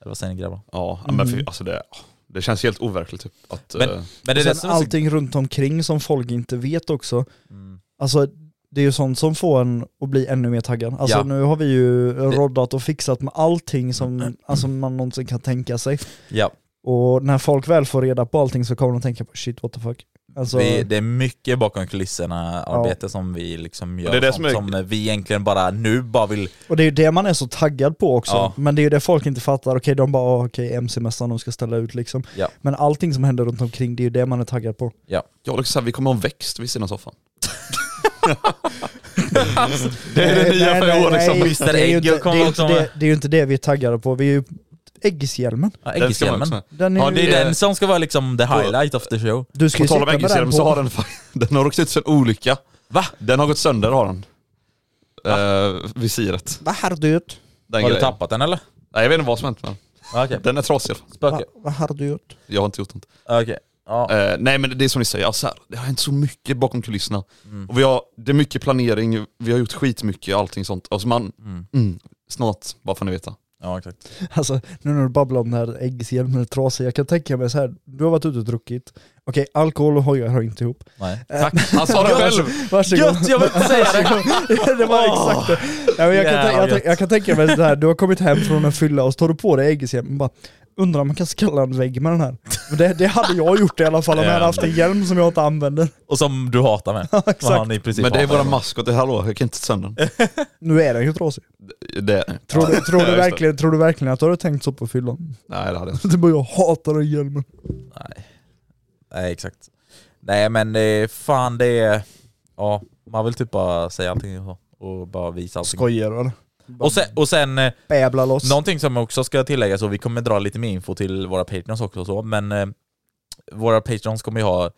Speaker 2: Eller vad säger ni grabbar?
Speaker 4: Ja men för,
Speaker 3: Mm.
Speaker 4: alltså det, det känns helt overkligt typ. Att,
Speaker 2: Men-
Speaker 4: eh,
Speaker 2: Men det är
Speaker 3: Sen
Speaker 2: det som är så-
Speaker 3: allting runt omkring som folk inte vet också.
Speaker 2: Mm.
Speaker 3: Alltså det är ju sånt som får en att bli ännu mer taggad. Alltså
Speaker 2: Ja.
Speaker 3: nu har vi ju roddat och fixat med allting som
Speaker 2: <clears throat>
Speaker 3: alltså, man någonsin kan tänka sig.
Speaker 2: Ja,
Speaker 3: Och när folk väl får reda på allting så kommer de tänka på shit what the fuck. Alltså,
Speaker 2: vi, det är mycket bakom kulisserna arbete som vi liksom gör.
Speaker 4: det är det
Speaker 2: som,
Speaker 4: som är-
Speaker 2: som vi egentligen bara nu bara vill...
Speaker 3: och det är ju det man är så taggad på också.
Speaker 2: Ja.
Speaker 3: Men det är ju det folk inte fattar. Okej de bara "Ah, okej MC-mästaren de ska ställa ut liksom.
Speaker 2: Ja.
Speaker 3: Men allting som händer runt omkring det är ju det man är taggad på.
Speaker 2: Ja.
Speaker 4: jag liksom så här, vi kommer ha en växt vid sidan av soffan. <laughs> det är det nya för i år liksom.
Speaker 2: Mr.
Speaker 3: det är ju inte-
Speaker 2: Ägg kommer
Speaker 3: det är ju
Speaker 2: också
Speaker 3: inte det-
Speaker 2: med.
Speaker 3: Det är ju inte det vi är taggade på. Vi är ju äggshjälmen.
Speaker 2: Ja,
Speaker 4: Den ska man
Speaker 2: äggshjälmen.
Speaker 4: också med.
Speaker 3: Den är
Speaker 2: Ja, det
Speaker 3: ju-
Speaker 2: är den som ska vara liksom the highlight of the show.
Speaker 3: Du ska
Speaker 4: På
Speaker 3: ju
Speaker 4: tal
Speaker 3: sitta
Speaker 4: om
Speaker 3: med den
Speaker 4: äggsyra
Speaker 3: på.
Speaker 4: så har den, <laughs> den har råkat ut för en olycka.
Speaker 2: Va?
Speaker 4: Den har gått sönder har den. Eh, visiret.
Speaker 3: Vad har du gjort?
Speaker 4: Den
Speaker 2: Har du
Speaker 4: grejen.
Speaker 2: tappat den eller?
Speaker 4: Nej jag vet inte vad som hänt men
Speaker 2: Ja, Okej,
Speaker 4: den är trasig. i alla fall.
Speaker 2: spöke.
Speaker 3: Vad har du gjort? <laughs>
Speaker 4: Jag har inte gjort något.
Speaker 2: Okej. Ja.
Speaker 4: Eh, nej men det är som ni säger, alltså här, det har hänt så mycket bakom kulisserna. Och vi har, det är mycket planering, vi har gjort skitmycket och allting sånt. Alltså man, mm, snart, bara får ni veta.
Speaker 2: ja, exakt.
Speaker 3: Alltså, nu när du babblar om den här äggshjälmen är trasig, jag kan tänka mig så här. du har varit ute och druckit, okej alkohol och hojar hör inte ihop.
Speaker 2: Nej.
Speaker 3: <laughs>
Speaker 4: Tack! Han sa det själv!
Speaker 3: Varsågod.
Speaker 2: Gött, jag vill inte säga
Speaker 3: <laughs>
Speaker 2: det!
Speaker 3: det var exakt det. Ja, men jag, kan
Speaker 2: jävlar
Speaker 3: tänka, jag,
Speaker 2: gött.
Speaker 3: tänk- jag kan tänka mig så här. du har kommit hem från en fylla och så tar du på dig äggshjälmen och bara Undrar om man kan skalla en vägg med den här. Men Det, det hade jag gjort i alla fall om jag hade haft en hjälm som jag inte använder.
Speaker 2: Och som du hatar
Speaker 3: <laughs>
Speaker 2: med.
Speaker 3: exakt.
Speaker 2: Vad han i princip
Speaker 4: Men det är
Speaker 2: hatar
Speaker 4: våra
Speaker 2: med.
Speaker 4: maskot, det- hallå, jag kan inte ta sönder den.
Speaker 3: Nu är den ju trasig.
Speaker 4: <laughs> Det,
Speaker 3: Tror du, tror,
Speaker 4: Ja,
Speaker 3: du
Speaker 4: just det.
Speaker 3: verkligen, tror du verkligen att du har tänkt så på fyllan? <laughs>
Speaker 4: Nej det hade jag inte.
Speaker 3: Du bara jag hatar den hjälmen.
Speaker 2: Nej exakt. Nej men eh, fan det är... Ja, man vill typ bara säga allting och, så. och bara visa allting.
Speaker 3: Skojar du eller?
Speaker 2: Och sen, och sen eh,
Speaker 3: Bäbla loss.
Speaker 2: Någonting som också ska tilläggas, och vi kommer dra lite mer info till våra patreons också och så, men eh, våra patreons kommer ju ha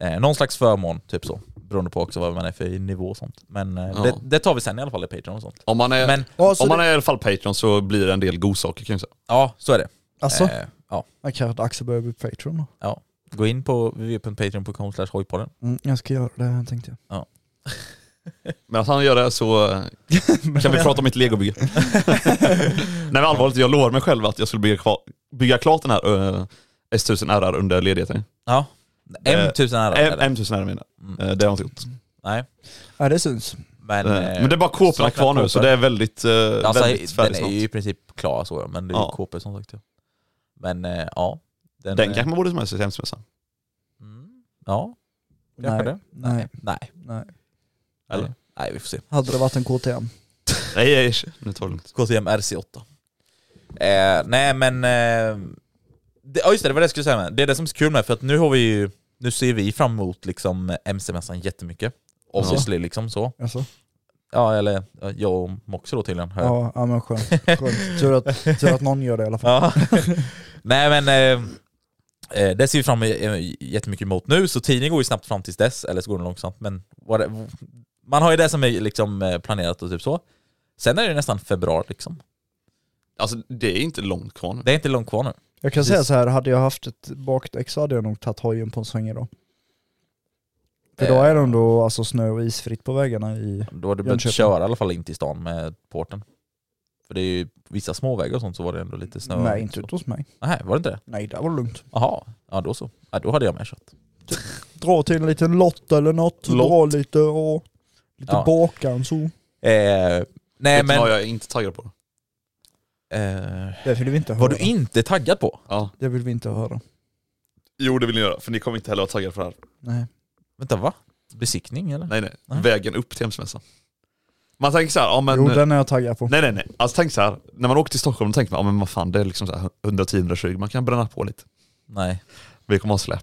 Speaker 2: eh, någon slags förmån, typ så. Beroende på också vad man är för nivå och sånt. Men eh,
Speaker 4: Ja. Eh.
Speaker 2: det, det tar vi sen i alla fall i Patreon och sånt.
Speaker 4: Om man är,
Speaker 2: Men-
Speaker 3: Ja, så
Speaker 4: om man
Speaker 3: det-
Speaker 4: är i alla fall Patreon så blir det en del godsaker kan jag säga.
Speaker 2: Ja, så är det.
Speaker 3: Alltså,
Speaker 2: Eh, ja,
Speaker 3: jag kanske Axel börjar bli Patreon då.
Speaker 2: ja. Gå in på www.patreon.com slash hojpodden.
Speaker 3: Mm, jag ska göra det tänkte jag.
Speaker 4: Medan han gör det så eh, kan vi prata om mitt <laughs> legobygge. Nej men allvarligt, jag lovar mig själv att jag skulle bygga, kva- bygga klart den här eh, S1000 RR under ledigheten.
Speaker 2: Ja.
Speaker 4: Eh,
Speaker 2: M1000 är det.
Speaker 4: M-
Speaker 2: eller?
Speaker 4: M1000 RR menar jag. Eh, Det har jag inte gjort.
Speaker 2: Nej.
Speaker 3: Ja det syns.
Speaker 2: Men,
Speaker 4: Eh,
Speaker 2: eh,
Speaker 4: Men det är bara kåporna
Speaker 2: saknar
Speaker 4: kvar nu så
Speaker 2: kåpor.
Speaker 4: det är väldigt, eh,
Speaker 2: alltså,
Speaker 4: väldigt
Speaker 2: Den
Speaker 4: färdigt
Speaker 2: är
Speaker 4: snart.
Speaker 2: ju i princip klar så, men det är ju
Speaker 4: Ja.
Speaker 2: KP som sagt. Ja. Men eh, ja.
Speaker 4: Den
Speaker 2: eh,
Speaker 4: kanske man borde ta med sig till hemsmässan.
Speaker 2: Mm, ja.
Speaker 3: Nej,
Speaker 2: Kanske det.
Speaker 3: nej,
Speaker 2: Nej.
Speaker 3: nej.
Speaker 2: Eller? Nej, vi får se.
Speaker 3: Hade det varit en KTM.
Speaker 4: Nej, nej, nu tar det lugnt.
Speaker 2: KTM RC8. Eh, nej men... Eh, det, ja just det, det var det jag skulle säga med. Det är det som är så kul med, för att nu har vi ju... Nu ser vi fram emot liksom MC-mässan jättemycket. Obviously liksom så.
Speaker 3: Alltså.
Speaker 2: Ja eller ja, jag och Moxie då tydligen. hör jag.
Speaker 3: Ja, ja men skönt. skönt. Tur, att, tur att någon gör det i alla fall.
Speaker 2: <laughs> Ja. Nej men eh, eh, det ser vi fram eh, jättemycket emot nu, så tiden går ju snabbt fram tills dess, eller så går den långsamt. Men vad det, man har ju det som är liksom eh, planerat och typ så. Sen är det ju nästan februari liksom.
Speaker 4: Alltså det är inte långt kvar nu.
Speaker 2: Det är inte långt kvar nu.
Speaker 3: Jag kan säga så här, hade jag haft ett bakdäck så hade jag nog tagit hojen på en sväng idag. För då är det ändå alltså, snö och isfritt på vägarna i...
Speaker 2: Då hade du behövt
Speaker 3: Jönköping.
Speaker 2: köra i alla fall in till stan med porten. För det är ju vissa småvägar och sånt så var det ändå lite snö.
Speaker 3: Nej, inte ute hos mig.
Speaker 2: Nej, var det inte det?
Speaker 3: Nej, det var lugnt.
Speaker 2: Jaha, ja då så. Ja, då hade jag med kött.
Speaker 3: Dra till en liten lott eller något.
Speaker 2: Lott.
Speaker 3: Dra lite och... Lite
Speaker 2: Ja.
Speaker 3: bakan så.
Speaker 2: Eh, nej
Speaker 4: Vet men...
Speaker 2: men...
Speaker 4: vad jag är inte taggad på?
Speaker 2: Eh,
Speaker 3: Det vill vi inte höra.
Speaker 2: var du inte taggad på?
Speaker 4: Ja.
Speaker 3: Det vill vi inte höra.
Speaker 4: Jo det vill ni göra, för ni kommer inte heller vara taggade för det här.
Speaker 3: Nej.
Speaker 2: Vänta va? Besiktning eller?
Speaker 4: Nej nej,
Speaker 2: Nej.
Speaker 4: vägen upp till hemsmässan. Man tänker så här, ja men...
Speaker 2: eh,
Speaker 3: jo, den är jag taggad på.
Speaker 4: Nej nej nej, alltså tänk så här. när man åker till Stockholm då tänker man, ja men vad fan det är liksom så här 110-120, man kan bränna på lite.
Speaker 2: Nej.
Speaker 4: Vi kommer ha släp.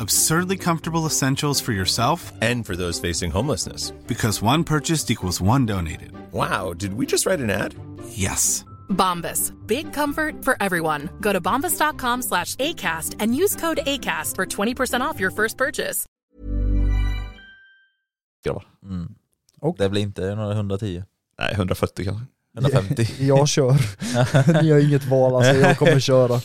Speaker 7: Absurdly comfortable essentials for yourself
Speaker 8: And for those facing homelessness.
Speaker 7: because one purchased equals one donated.
Speaker 8: Wow, did we just write an ad?
Speaker 7: Yes.
Speaker 9: Bombas. Big comfort for everyone. Go to bombas.com slash ACAST and use code ACAST for 20% off your first purchase.
Speaker 4: Grabbar.
Speaker 2: Mm.
Speaker 3: Och-
Speaker 2: Det blir inte
Speaker 3: <laughs>
Speaker 2: några 110.
Speaker 4: Nej 140 kanske.
Speaker 2: 150.
Speaker 3: Jag kör. Ni har inget val alltså, jag kommer köra.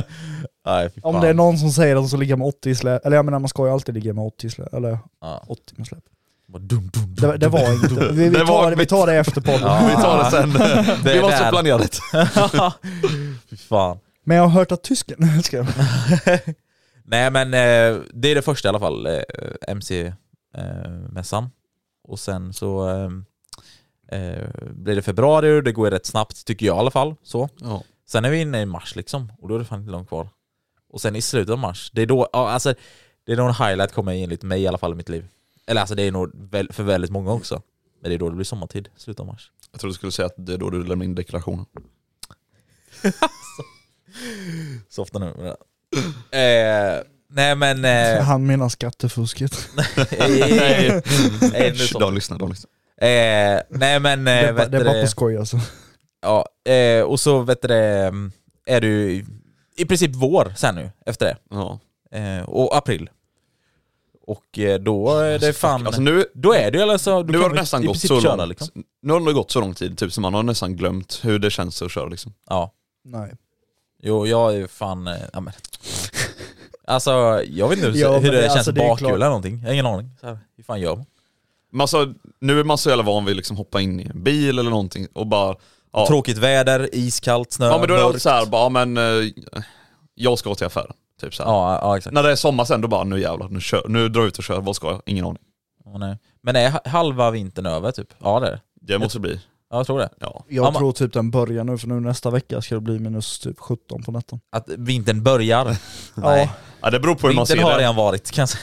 Speaker 2: <laughs> Nej, fy fan.
Speaker 3: Om det är någon som säger att så ligger med 80 i släp, eller jag menar man ska ju alltid ligga med 80 i släp, eller
Speaker 2: Ja.
Speaker 3: 80 med släp.
Speaker 2: Bara dum, dum, dum,
Speaker 3: Det, det var inte, vi, vi,
Speaker 4: Det var
Speaker 3: tar, det- vi
Speaker 4: mitt-
Speaker 3: tar det efter
Speaker 4: <laughs>
Speaker 3: podden.
Speaker 4: Vi tar det sen.
Speaker 2: <laughs> Det
Speaker 4: Vi
Speaker 2: är
Speaker 4: måste
Speaker 2: där.
Speaker 4: planera lite.
Speaker 2: <laughs> Fy fan.
Speaker 3: Men jag har hört att tysken <laughs> älskar det.
Speaker 2: <laughs> Nej men eh, det är det första i alla fall, eh, MC-mässan. och sen så eh, eh, blir det februari och det går rätt snabbt tycker jag i alla fall. Så.
Speaker 4: Ja.
Speaker 2: Sen är vi inne i mars liksom och då är det fan inte långt kvar. Och sen i slutet av mars, det är då, ja, alltså, det är då en highlight kommer enligt mig i alla fall i mitt liv. Eller alltså det är nog väl, för väldigt många också. Men det är då det blir sommartid, slutet av mars.
Speaker 4: Jag trodde du skulle säga att det är då du lämnar in
Speaker 2: <laughs>
Speaker 4: deklarationen.
Speaker 2: Så ofta nu. Eh, nej men... Eh,
Speaker 3: Han menar skattefusket.
Speaker 2: <laughs> Nej, nej, nu
Speaker 4: Shh,
Speaker 2: så.
Speaker 4: De lyssnar, de lyssnar.
Speaker 2: Eh, nej men... Eh,
Speaker 3: det, är
Speaker 2: vet
Speaker 3: bara- det är
Speaker 2: du
Speaker 3: bara på skoj alltså.
Speaker 2: Ja, eh, och så vet du det, eh, är det ju i princip vår sen nu efter det. Eh, och april. Och eh, då är det fan...
Speaker 4: Alltså nu,
Speaker 2: då är det ju alltså... då
Speaker 4: nu har
Speaker 2: kan
Speaker 4: det
Speaker 2: vi
Speaker 4: nästan
Speaker 2: i
Speaker 4: gått
Speaker 2: princip
Speaker 4: så
Speaker 2: köra,
Speaker 4: långt.
Speaker 2: liksom.
Speaker 4: Nu har det gått så lång tid typ så man har nästan glömt hur det känns att köra liksom.
Speaker 2: Ja.
Speaker 3: Nej.
Speaker 2: Jo, jag är ju fan... eh,
Speaker 4: <laughs>
Speaker 2: Ja, men. Alltså, jag vet inte hur,
Speaker 4: Ja, men
Speaker 2: hur det,
Speaker 4: det-
Speaker 2: känns
Speaker 4: alltså, det är
Speaker 2: bakhjul
Speaker 4: klart.
Speaker 2: eller någonting. Jag har ingen aning. Så här, hur fan gör man?
Speaker 4: Men alltså, nu är man så jävla van vid att liksom hoppa in i en bil eller någonting och bara... Ja.
Speaker 2: Tråkigt väder, iskallt, snö,
Speaker 4: Ja men då är det alltid
Speaker 2: mörkt.
Speaker 4: såhär, bara men eh, jag ska till affären. Typ så här.
Speaker 2: Ja, ja, exakt.
Speaker 4: När det är sommar sen då bara nu jävlar, nu, kör, nu drar jag ut och kör, vad ska jag? Ingen aning.
Speaker 2: Ja, nej. Men är ha- halva vintern över typ? Ja det är det.
Speaker 4: Det måste bli.
Speaker 2: Ja, jag tror det.
Speaker 4: Ja.
Speaker 3: Jag
Speaker 2: man-
Speaker 3: tror typ den börjar nu, för nu nästa vecka ska det bli minus typ 17 på natten.
Speaker 2: Att
Speaker 4: <laughs>
Speaker 2: vintern börjar? Nej.
Speaker 4: Ja, det beror på hur man
Speaker 2: Vintern
Speaker 4: ser
Speaker 2: har
Speaker 4: det.
Speaker 2: redan varit kanske.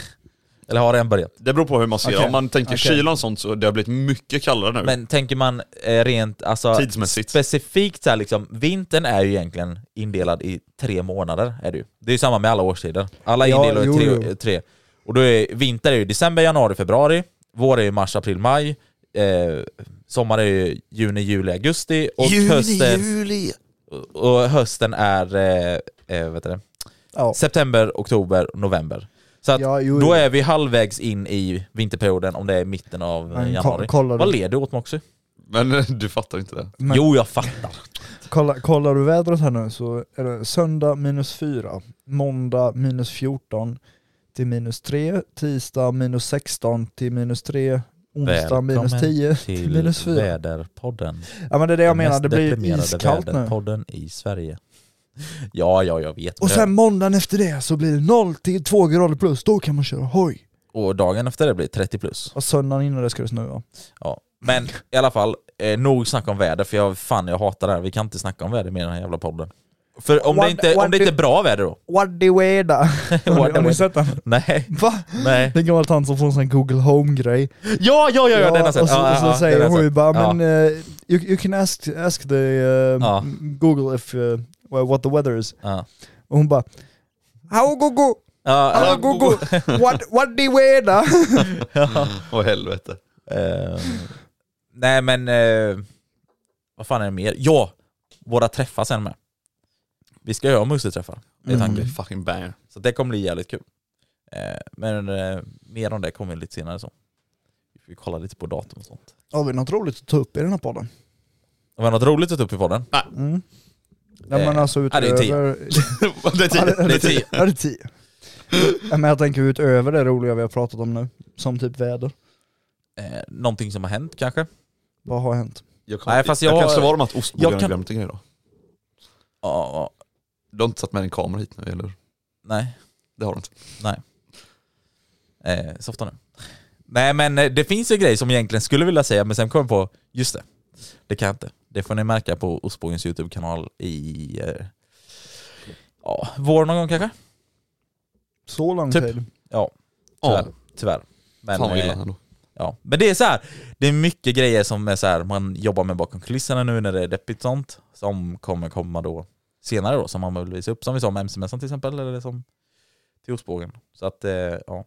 Speaker 2: Eller har redan börjat.
Speaker 4: Det beror på hur man ser det.
Speaker 2: Okej.
Speaker 4: Om man tänker
Speaker 2: Okej.
Speaker 4: kylan och sånt så det har blivit mycket kallare nu.
Speaker 2: Men tänker man eh, rent alltså,
Speaker 4: Tidsmässigt.
Speaker 2: specifikt så här liksom, vintern är ju egentligen indelad i tre månader. Är det, ju. det är ju samma med alla årstider. Alla är
Speaker 3: Ja,
Speaker 2: indelade
Speaker 3: jo,
Speaker 2: i tre,
Speaker 3: jo.
Speaker 2: eh, tre. Och då är vinter är ju december, januari, februari. Vår är ju mars, april, maj. Eh, sommar är ju juni, juli, augusti. Och hösten, Och hösten är eh, eh, vet du det? september, oktober, november. Så att
Speaker 3: jo,
Speaker 2: då
Speaker 3: jo.
Speaker 2: är vi halvvägs in i vinterperioden om det är mitten av
Speaker 3: Men
Speaker 2: eh, januari.
Speaker 3: ko- kollar
Speaker 2: Vad
Speaker 3: du-
Speaker 2: leder åt mig också?
Speaker 4: Men <laughs> du fattar inte det?
Speaker 3: Men-
Speaker 2: Jo, jag fattar.
Speaker 3: Kolla, kollar du vädret här nu så är det söndag minus 4, måndag minus 14 till minus 3, tisdag minus 16 till minus 3, onsdag
Speaker 2: Välkommen
Speaker 3: minus 10 till,
Speaker 2: till
Speaker 3: minus 4.
Speaker 2: Väderpodden.
Speaker 3: Ja, men det är det jag menar,
Speaker 2: mest
Speaker 3: det blir
Speaker 2: deprimerade
Speaker 3: iskallt nu.
Speaker 2: väderpodden i Sverige. Ja, ja, jag vet.
Speaker 3: Och sen måndagen efter det så blir det 0 till 2 grader plus, då kan man köra hoj.
Speaker 2: och dagen efter det blir 30 plus.
Speaker 3: Och söndagen innan det ska det snöa.
Speaker 2: Ja. Men i alla fall, eh, nog snack om väder för jag, fan jag hatar det här. Vi kan inte snacka om väder med den här jävla podden. För om,
Speaker 3: What-
Speaker 2: det, inte, om
Speaker 3: what
Speaker 2: det inte
Speaker 3: do-
Speaker 2: är bra väder då?
Speaker 3: What the
Speaker 2: <laughs>
Speaker 3: weather? Har ni- har ni sett den?
Speaker 2: Nej.
Speaker 3: Va?
Speaker 2: Nej.
Speaker 3: Det är en gammal tant som får en sån här Google Home-grej.
Speaker 2: Ja, ja, ja, ja, den har jag
Speaker 3: och så,
Speaker 2: sett.
Speaker 3: och så
Speaker 2: Ja, ja, ja, den har
Speaker 3: säger
Speaker 2: jag
Speaker 3: hon ju
Speaker 2: sett.
Speaker 3: bara,
Speaker 2: Ja.
Speaker 3: men eh, you, you can ask, ask the eh, Google if, eh, well, what the weather is. Och hon bara, how go go?
Speaker 2: Ja,
Speaker 3: how go
Speaker 2: <laughs>
Speaker 3: go? what, what the weather? <laughs>
Speaker 4: Åh helvete.
Speaker 2: ehm, Nej men, eh, vad fan är det mer? Ja! Våra träffar sen med. Vi ska göra museträffar, det är
Speaker 4: Mm.
Speaker 2: tanken.
Speaker 4: Fucking banger.
Speaker 2: Så det kommer bli jävligt kul. Eh, men eh, mer om det kommer lite senare så. Vi får kolla lite på datum och sånt.
Speaker 3: Har vi något roligt att ta upp i den här podden?
Speaker 2: Var det något roligt att ta upp i podden?
Speaker 4: Nej.
Speaker 3: Mm. Nej men alltså
Speaker 2: Eh, ja, det
Speaker 3: utöver...
Speaker 2: är tio. <laughs> Det är tio.
Speaker 3: Ja, <laughs> det-
Speaker 2: Det är tio.
Speaker 3: Ja det är tio. Ja, men jag tänker utöver det roliga vi har pratat om nu, som typ väder.
Speaker 2: Eh, någonting som har hänt kanske?
Speaker 3: Vad har hänt?
Speaker 4: Jag,
Speaker 2: kan- Nej, fast jag-
Speaker 4: jag kan svara om att ostbågarna
Speaker 2: jag kan-
Speaker 4: glömt en grej då.
Speaker 2: Ja, ja.
Speaker 4: Du har inte satt med din kamera hit nu eller?
Speaker 2: Nej.
Speaker 4: Det har du inte.
Speaker 2: Nej. Eh, softa nu. Nej men eh, det finns en grej som jag egentligen skulle vilja säga men sen kom jag på, just det. Det kan jag inte. Det får ni märka på Ostbågens YouTube-kanal i... Eh, ja, vår någon gång kanske?
Speaker 3: Så lång
Speaker 2: Typ.
Speaker 3: tid?
Speaker 2: Ja. Tyvärr. tyvärr. Men,
Speaker 4: Fan vad illa
Speaker 2: eh,
Speaker 4: ändå.
Speaker 2: Ja. Men det är så här. det är mycket grejer som är så här, man jobbar med bakom kulisserna nu när det är deppigt och sånt. Som kommer komma då senare då, som man vill visa upp. Som vi sa om MC-mässan till exempel, eller som till Ostbågen. Så att, eh, ja.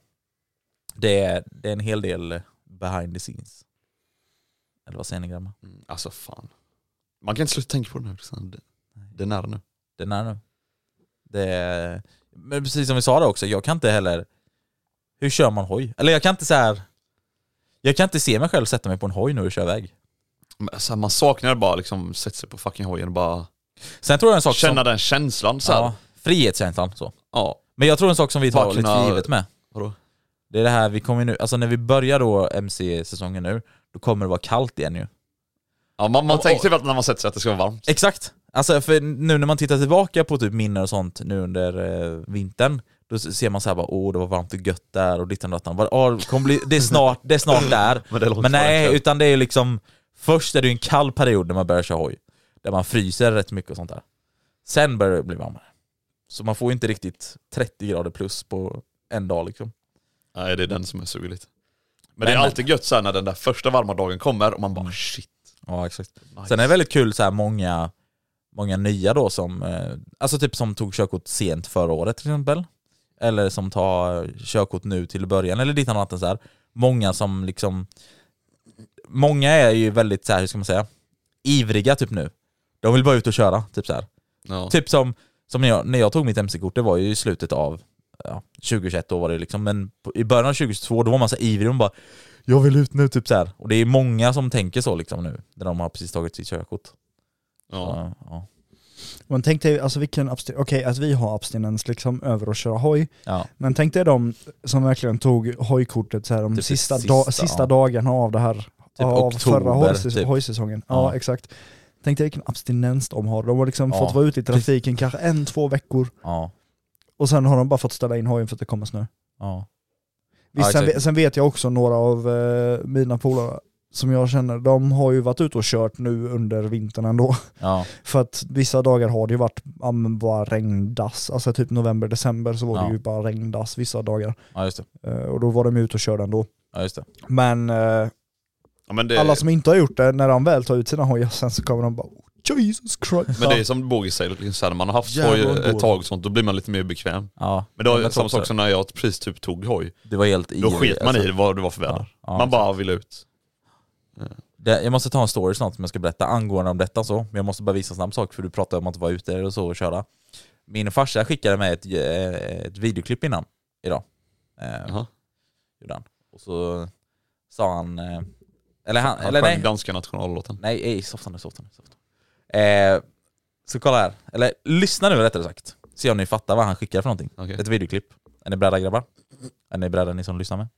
Speaker 2: Det är, det är en hel del behind the scenes. Eller vad säger ni grabbar?
Speaker 4: Alltså fan. Man kan inte sluta tänka på det nu. liksom. Det, det är nära nu.
Speaker 2: Det är nära nu. Det är, men precis som vi sa det också, jag kan inte heller... Hur kör man hoj? Eller jag kan inte så här. Jag kan inte se mig själv sätta mig på en hoj nu och köra iväg.
Speaker 4: Men, alltså, man saknar bara liksom sätta sig på fucking hojen och bara
Speaker 2: Sen tror jag en sak
Speaker 4: känna
Speaker 2: som-
Speaker 4: den känslan så här.
Speaker 2: Ja, frihetskänslan så.
Speaker 4: Ja.
Speaker 2: Men jag tror en sak som vi tar
Speaker 4: Bara
Speaker 2: lite
Speaker 4: kunna-
Speaker 2: för givet med.
Speaker 4: Vadå?
Speaker 2: Det är det här, vi kommer ju nu, alltså när vi börjar då MC-säsongen nu, då kommer det vara kallt igen ju.
Speaker 4: Ja, man, man
Speaker 2: Och-
Speaker 4: tänker typ att när man sätter sig att det ska vara varmt.
Speaker 2: Exakt! Alltså för nu när man tittar tillbaka på typ minnen och sånt nu under eh, vintern, då s- ser man så här bara åh det var varmt och gött där och dittan och dattan. Bara, "Åh, det kommer bli- Det är snart, det är snart där.
Speaker 4: <laughs> Men det är långt
Speaker 2: Men
Speaker 4: kvar
Speaker 2: nej,
Speaker 4: egentligen.
Speaker 2: utan det är liksom, först är det ju en kall period när man börjar köra hoj. Där man fryser rätt mycket och sånt där. Sen börjar det bli varmare. Så man får ju inte riktigt 30 grader plus på en dag liksom.
Speaker 4: Nej det är den som är sugen lite. Men,
Speaker 2: Men- Mm.
Speaker 4: det är alltid gött sen när den där första varma dagen kommer och man bara shit.
Speaker 2: Ja exakt. Sen är det väldigt kul så här många, många nya då som, eh, alltså typ som tog körkort sent förra året till exempel. Eller som tar körkort nu till början eller ditt annat så här. Många som liksom, många är ju väldigt så här, hur ska man säga, ivriga typ nu. De vill bara ut och köra, typ så här.
Speaker 4: Ja.
Speaker 2: Typ som, som när, jag, när jag tog mitt MC-kort, det var ju i slutet av ja, 2021 då var det liksom, men på, i början av 2022 då var man så här ivrig och bara Jag vill ut nu, typ så här. Och det är många som tänker så liksom nu, när de har precis tagit sitt körkort. Ja. Så, ja.
Speaker 3: Men tänk dig, alltså vilken abstinens, okej att vi har abstinens liksom över att köra hoj,
Speaker 2: Ja.
Speaker 3: men tänk dig de som verkligen tog hojkortet så här, de
Speaker 2: Typ
Speaker 3: sista,
Speaker 2: sista,
Speaker 3: da, sista
Speaker 2: ja.
Speaker 3: dagarna av det här, av
Speaker 2: oktober,
Speaker 3: förra hojsäs-
Speaker 2: typ.
Speaker 3: hojsäsongen. Ja.
Speaker 2: Ja.
Speaker 3: exakt. Tänk dig vilken abstinens de har, de har liksom
Speaker 2: Ja.
Speaker 3: fått vara ute i trafiken kanske en, två veckor,
Speaker 2: Ja.
Speaker 3: och sen har de bara fått ställa in hojen för att det kommer snö.
Speaker 2: Ja.
Speaker 3: Visst,
Speaker 2: Ja,
Speaker 3: sen,
Speaker 2: exakt.
Speaker 3: ve- sen vet jag också några av eh, mina polare som jag känner, de har ju varit ute och kört nu under vintern ändå. <laughs>
Speaker 2: Ja.
Speaker 3: För att vissa dagar har det ju varit ja, men bara regndass, alltså typ november, december så var det
Speaker 2: Ja.
Speaker 3: ju bara regndass vissa dagar.
Speaker 2: Ja, just det.
Speaker 3: Eh, och då var de ute och körde ändå.
Speaker 2: Ja, just det.
Speaker 3: Men, eh,
Speaker 4: men det-
Speaker 3: alla som inte har gjort det, när de väl tar ut sina hojar sen så kommer de bara "Oh, Jesus Christ.
Speaker 4: Men det är som Bogis säger, liksom, så här, när man har haft
Speaker 3: Jävlar
Speaker 4: hoj
Speaker 3: vad
Speaker 4: ett
Speaker 3: god.
Speaker 4: tag och sånt, då blir man lite mer bekväm.
Speaker 2: Ja.
Speaker 4: Men det var
Speaker 2: Ja, men
Speaker 4: samma
Speaker 2: så-
Speaker 4: sak som när jag precis typ tog hoj.
Speaker 2: Det var helt
Speaker 4: Då
Speaker 2: i-
Speaker 4: sket man
Speaker 2: alltså-
Speaker 4: i vad det var för väder.
Speaker 2: Ja, ja,
Speaker 4: man bara ville ut.
Speaker 2: Det, jag måste ta en story snart som jag ska berätta angående om detta så, men jag måste bara visa en snabb sak för du pratade om att vara ute och så och köra. Min farsa skickade mig ett, eh, ett videoklipp innan, idag. Eh, gjorde han. Och så sa han, eh, eller han,
Speaker 4: Han
Speaker 2: eller
Speaker 4: sjöng
Speaker 2: nej.
Speaker 4: danska nationallåten.
Speaker 2: Nej, ej, softa nu, softa nu. Softa. nu. Eh, så kolla här, eller lyssna nu rättare sagt. Se om ni fattar vad han skickar för någonting. Ett videoklipp. Är ni beredda grabbar? Är ni beredda ni som lyssnar med?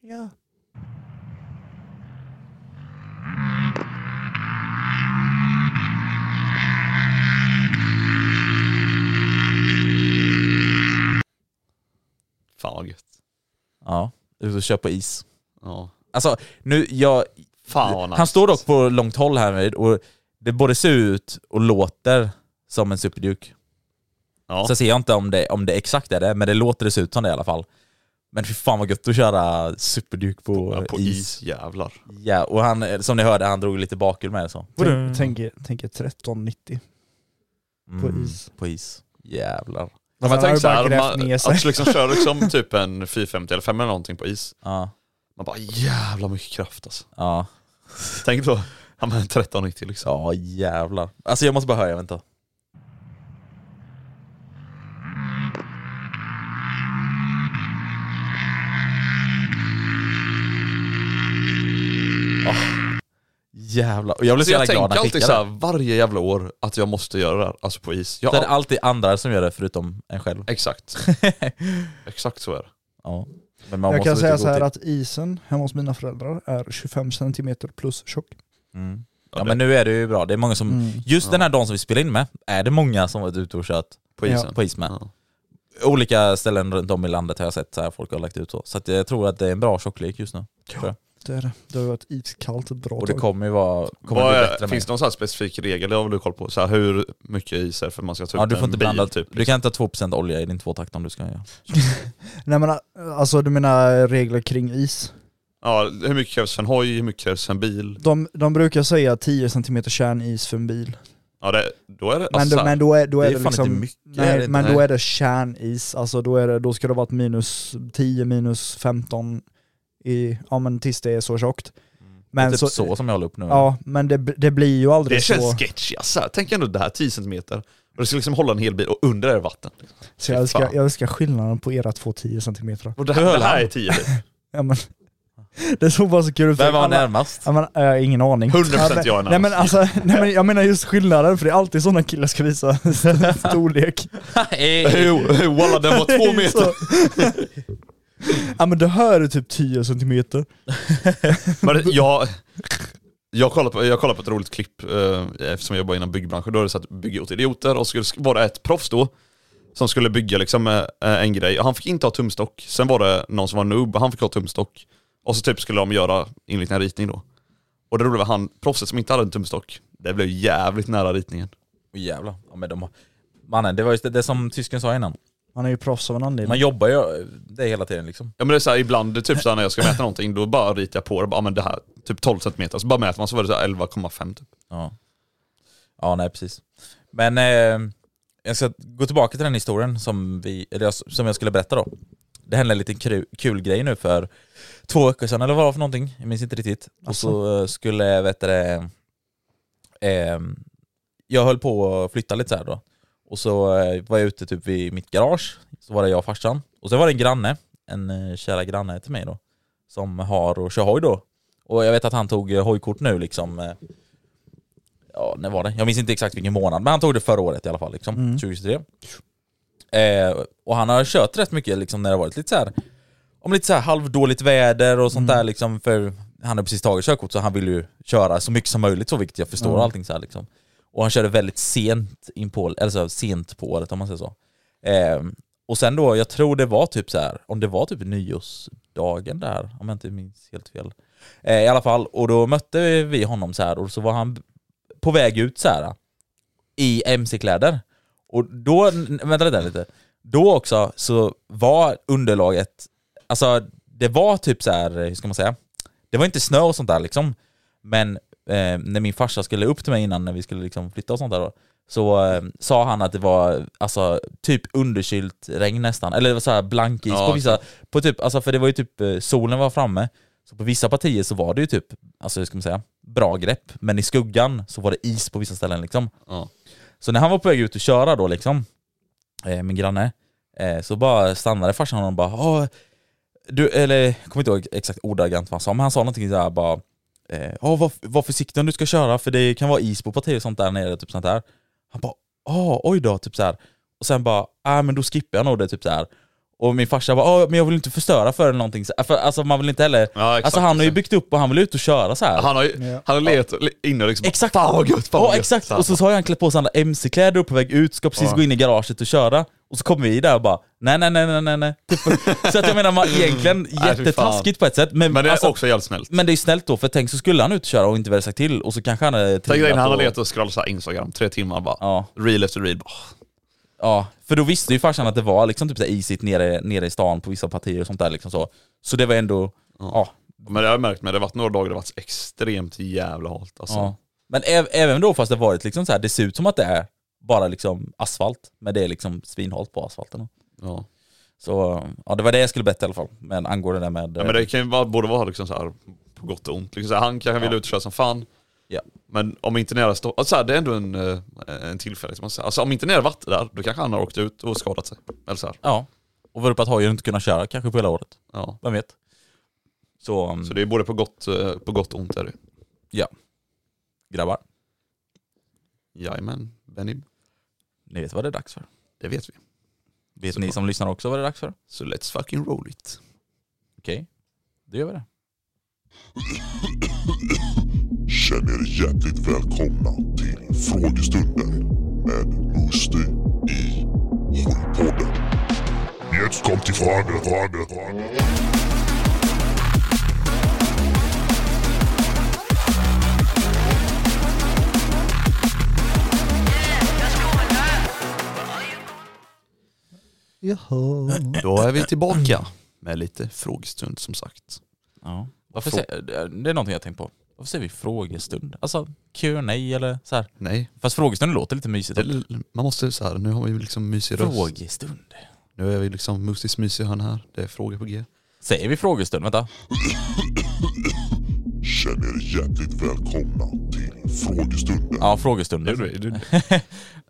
Speaker 3: Ja.
Speaker 4: Fan vad gött.
Speaker 2: Ja, ut och köpa is.
Speaker 4: Ja.
Speaker 2: Alltså, nu, jag...
Speaker 4: Fan vad nice.
Speaker 2: Han står dock på långt håll här nu och det både ser ut och låter som en superduke.
Speaker 4: Ja.
Speaker 2: Så ser jag inte om det, om det exakt är det, men det låter det ser ut som det i alla fall. Men fy fan vad gött att köra superduk på,
Speaker 4: på
Speaker 2: is.
Speaker 4: is, jävlar.
Speaker 2: Ja, och han, eh, som ni hörde, han drog lite bakhjul med så.
Speaker 3: Tänk, tänk, er- tänk er 1390 på
Speaker 2: Mm,
Speaker 3: is.
Speaker 2: På is. Jävlar.
Speaker 4: Ja,
Speaker 3: Han har
Speaker 4: men tänk
Speaker 3: ju
Speaker 4: så
Speaker 3: bara
Speaker 4: här,
Speaker 3: grävt
Speaker 4: man,
Speaker 3: Alltså, ner sig.
Speaker 4: att
Speaker 2: <laughs>
Speaker 4: liksom köra
Speaker 3: <laughs>
Speaker 4: liksom typ en 450 eller 500 eller någonting på is.
Speaker 2: Ja.
Speaker 4: Man bara jävla mycket kraft alltså.
Speaker 2: Ja.
Speaker 4: Tänk då, han med en 1390 liksom.
Speaker 2: Ja jävlar. Alltså jag måste bara höra, jag väntar. Åh, Ah, jävlar. Och jag blev så
Speaker 4: jag
Speaker 2: jävla glad
Speaker 4: tänker
Speaker 2: när jag
Speaker 4: alltid
Speaker 2: skickade.
Speaker 4: så här, varje jävla år att jag måste göra det här, alltså på is. Jag,
Speaker 2: Så är det alltid andra som gör det förutom
Speaker 4: <laughs>
Speaker 2: en själv. <laughs>
Speaker 4: Exakt. Exakt så är det.
Speaker 2: Ja. Men man
Speaker 3: jag
Speaker 2: måste
Speaker 3: kan säga
Speaker 2: vara ute i
Speaker 3: så här
Speaker 2: god
Speaker 3: att isen hemma hos mina föräldrar är 25 cm plus tjock.
Speaker 2: tid. Mm. Ja men nu är det ju bra. Det är många som,
Speaker 3: Mm.
Speaker 2: just den här dagen som vi spelar in med, är det många som varit ute och kört
Speaker 4: På isen.
Speaker 2: på is med. Olika ställen runt om i landet har jag sett så här folk har lagt ut så. Så att jag tror att det är en bra tjocklek just nu. tror jag.
Speaker 3: Det är det. Det har varit iskallt ett bra
Speaker 2: Och det
Speaker 3: tag.
Speaker 2: kommer ju vara, kommer
Speaker 4: Vad
Speaker 2: bli
Speaker 4: är-
Speaker 2: bättre med.
Speaker 4: finns det någon så här specifik regel, det har väl du koll på? Så här, hur mycket is är det för att man ska ta ut
Speaker 2: Ja, du får
Speaker 4: en
Speaker 2: inte
Speaker 4: bil,
Speaker 2: blanda,
Speaker 4: typ?
Speaker 2: du kan inte ha 2% olja i din tvåtakt om du ska göra.
Speaker 3: Nej men alltså du menar regler kring is?
Speaker 4: Ja, hur mycket krävs för en hoj, hur mycket krävs för en bil?
Speaker 3: De, de brukar säga 10 cm kärnis för en bil.
Speaker 4: Ja, det, då är det...
Speaker 3: Men,
Speaker 4: alltså, så
Speaker 3: då,
Speaker 4: här-
Speaker 3: men då är, då är det,
Speaker 2: fan
Speaker 3: liksom...
Speaker 2: inte mycket,
Speaker 3: nej,
Speaker 2: är det inte?
Speaker 3: men då
Speaker 2: Nej.
Speaker 3: är det kärnis, alltså då, är det, då ska det ha varit minus 10, minus 15 i, ja men tills det är så tjockt.
Speaker 2: Det är typ så som jag håller upp nu.
Speaker 3: Ja, men det, det blir ju aldrig
Speaker 4: Det
Speaker 3: så...
Speaker 4: känns sketchy alltså. Tänk ändå det här, 10 centimeter. Och det ska liksom hålla en hel bil och under är det vatten.
Speaker 3: Så jag älskar, jag älskar skillnaden på era två 10 cm.
Speaker 4: Och det, här, det här är 10 bil. <laughs>
Speaker 3: Ja, men, <laughs> det såg bara så kul ut.
Speaker 2: Vem var
Speaker 3: Alla-
Speaker 2: närmast? <laughs>
Speaker 3: Ja, men, jag har ingen aning.
Speaker 4: 100% jag är
Speaker 3: Ja, men- Nej
Speaker 4: närmast.
Speaker 3: men alltså, nej, men jag menar just skillnaden, för det är alltid sådana killar ska visa <laughs> storlek.
Speaker 2: <laughs>
Speaker 4: Jo, walla den var två meter.
Speaker 3: Så. <laughs> ja men det här är typ 10 centimeter.
Speaker 4: Men jag, jag, kollade på, jag kollade på ett roligt klipp eh, eftersom jag jobbar inom byggbranschen. Då är det så att bygga åt idioter och så var det ett proffs då som skulle bygga liksom eh, en grej. Han fick inte ha tumstock. Sen var det någon som var noob och han fick ha tumstock. Och så typ skulle de göra enligt en ritning då. Och det roliga var han, proffset som inte hade en tumstock, det blev jävligt nära ritningen.
Speaker 2: Åh, jävlar. Ja, men de, har- mannen, det var just det, det som tysken sa innan.
Speaker 3: Han är ju proffs av en anledning.
Speaker 2: Man jobbar ju eh, det hela tiden liksom.
Speaker 4: Ja men det är så här, ibland typ så här, när jag ska mäta någonting, då bara ritar jag på det. Bara, "Ah, men det här, typ 12 cm. Så bara mäter man så var det så här 11,5 typ.
Speaker 2: Ja. Ja, nej precis. Men eh, jag ska gå tillbaka till den historien som, vi, eller jag, som jag skulle berätta då. Det hände en liten kru, kul grej nu för två veckor sedan, eller vad det var för någonting, jag minns inte riktigt. Och så eh, skulle, vet du, det, Eh, jag höll på att flytta lite så här då. Och så eh, var jag ute typ vid mitt garage, så var det jag och farsan. Och sen var det en granne, en eh, kära granne till mig då, som har och kör hoj då. Och jag vet att han tog eh, hojkort nu liksom. eh, Ja, när var det? Jag minns inte exakt vilken månad, men han tog det förra året i alla fall, liksom,
Speaker 10: Mm.
Speaker 2: 2023. Eh, och han har kört rätt mycket liksom, när det har varit lite så här om lite så här halvdåligt väder och sånt där liksom för han har precis tagit körkort så han vill ju köra så mycket som möjligt så vilket jag förstår
Speaker 10: Ja.
Speaker 2: allting så här liksom. Och han körde väldigt sent in på, eller så här, sent på året om man säger så. Ehm, och sen då, jag tror det var typ så här, om det var typ nyårsdagen där, om jag inte minns helt fel. Eh, I alla fall, och då mötte vi honom så här och så var han på väg ut så här i mc-kläder. Och då, n- vänta där lite, då också så var underlaget, alltså det var typ så här, hur ska man säga, det var inte snö och sånt där liksom, men eh, när min farsa skulle upp till mig innan när vi skulle liksom flytta och sånt där då, så eh, sa han att det var alltså typ underkylt regn nästan, eller det var så här blankis
Speaker 10: Ja,
Speaker 2: på vissa, på typ, alltså för det var ju typ, eh, solen var framme, så på vissa partier så var det ju typ, alltså hur ska man säga, bra grepp, men i skuggan så var det is på vissa ställen liksom. Så när han var på väg ut och köra då liksom, eh, min granne, eh, så bara stannade farsan honom och bara "Åh, du, eller jag kommer inte ihåg exakt ordagrant vad han sa, men han sa någonting såhär bara eh, "Åh, var, var försiktig om du ska köra för det kan vara is på partier och sånt där nere, typ sånt där. Han bara Åh, oj då, typ såhär. Och sen bara, ah, men då skippar jag nog det, typ såhär. Och min farsa bara, "Åh, men jag vill inte förstöra för eller någonting. Så, för, alltså man vill inte heller,
Speaker 4: Ja, exakt,
Speaker 2: alltså han har ju byggt upp och han vill ut och köra så här.
Speaker 4: Han har ju, han har legat inne och liksom
Speaker 2: Exakt.
Speaker 4: Fan vad gött, fan
Speaker 2: ja,
Speaker 4: vad gött.
Speaker 2: exakt. Och så har han klätt på sig alla mc-kläder och på väg ut, ska precis
Speaker 4: Ja.
Speaker 2: gå in i garaget och köra. Och så kommer vi där och bara, nej nej nej nej nej nej. Typ. <laughs> Så att jag menar, man, egentligen
Speaker 4: Nej, fy fan.
Speaker 2: jättetaskigt på ett sätt. Men,
Speaker 4: Men det är
Speaker 2: alltså-
Speaker 4: också jävligt snällt.
Speaker 2: Men det är snällt då, för tänk så skulle han ut och köra och inte väl sagt till och så kanske han hade
Speaker 4: Tänk dig
Speaker 2: trillat
Speaker 4: när han har
Speaker 2: och-
Speaker 4: legat och scrollat så här Instagram, tre timmar bara. Reel efter reel. Bara.
Speaker 2: Ja, för då visste ju farsan att det var liksom typ så här isigt nere, nere i stan på vissa partier och sånt där liksom så. Så det var ändå, ja.
Speaker 4: Men jag har märkt med det har varit några dagar det har varit extremt jävla halt alltså.
Speaker 2: Ja. Men ä- även då fast det varit liksom så här, det ser ut som att det är bara liksom asfalt, men det är liksom svinhalt på asfalten.
Speaker 4: Ja.
Speaker 2: Så ja, det var det jag skulle betta i alla fall, men angående det där med...
Speaker 4: Ja, men det kan ju vara, borde vara liksom så här på gott och ont. Liksom så här, han kanske vill ut och köra som fan.
Speaker 2: Ja.
Speaker 4: Men om inte nära står, alltså så här, det är ändå en, eh, en tillfälle. Liksom. Alltså om inte nära varit där, då kanske han har åkt ut och skadat sig. Eller så här.
Speaker 2: Ja. Och vurpat har ju inte kunnat köra kanske på hela året.
Speaker 4: Ja.
Speaker 2: Vem vet? Så, mm,
Speaker 4: så det är både på gott, eh, på gott och ont är det.
Speaker 2: Ja. Grabbar.
Speaker 4: Jajamän, Benny.
Speaker 2: Ni vet vad det är dags för.
Speaker 4: Det vet vi.
Speaker 2: Vet ni som lyssnar också vad det är dags för?
Speaker 4: Så let's fucking roll it.
Speaker 2: Okej, då gör vi det.
Speaker 11: Känn er hjärtligt välkomna till frågestunden med Musti i Hojpodden. Jetzt kommt die Frage, Frage, Frage.
Speaker 7: Jaha.
Speaker 4: Då är vi tillbaka med lite frågestund som sagt.
Speaker 2: Ja. Varför säger- det är någonting jag tänkt på. Varför säger vi frågestund? Alltså Q&A eller så här.
Speaker 4: Nej.
Speaker 2: Fast frågestunden låter lite mysigt. också.
Speaker 4: Man måste så här, nu har vi ju liksom mysig röst.
Speaker 2: Frågestund.
Speaker 4: Nu är vi liksom Mustis mysiga hörn här. Det är frågor på G.
Speaker 2: Säger vi frågestund? Vänta.
Speaker 11: Känn er hjärtligt välkomna till frågestunden.
Speaker 2: Ja, frågestunden.
Speaker 11: Gjorde vi- gjorde
Speaker 4: Eh,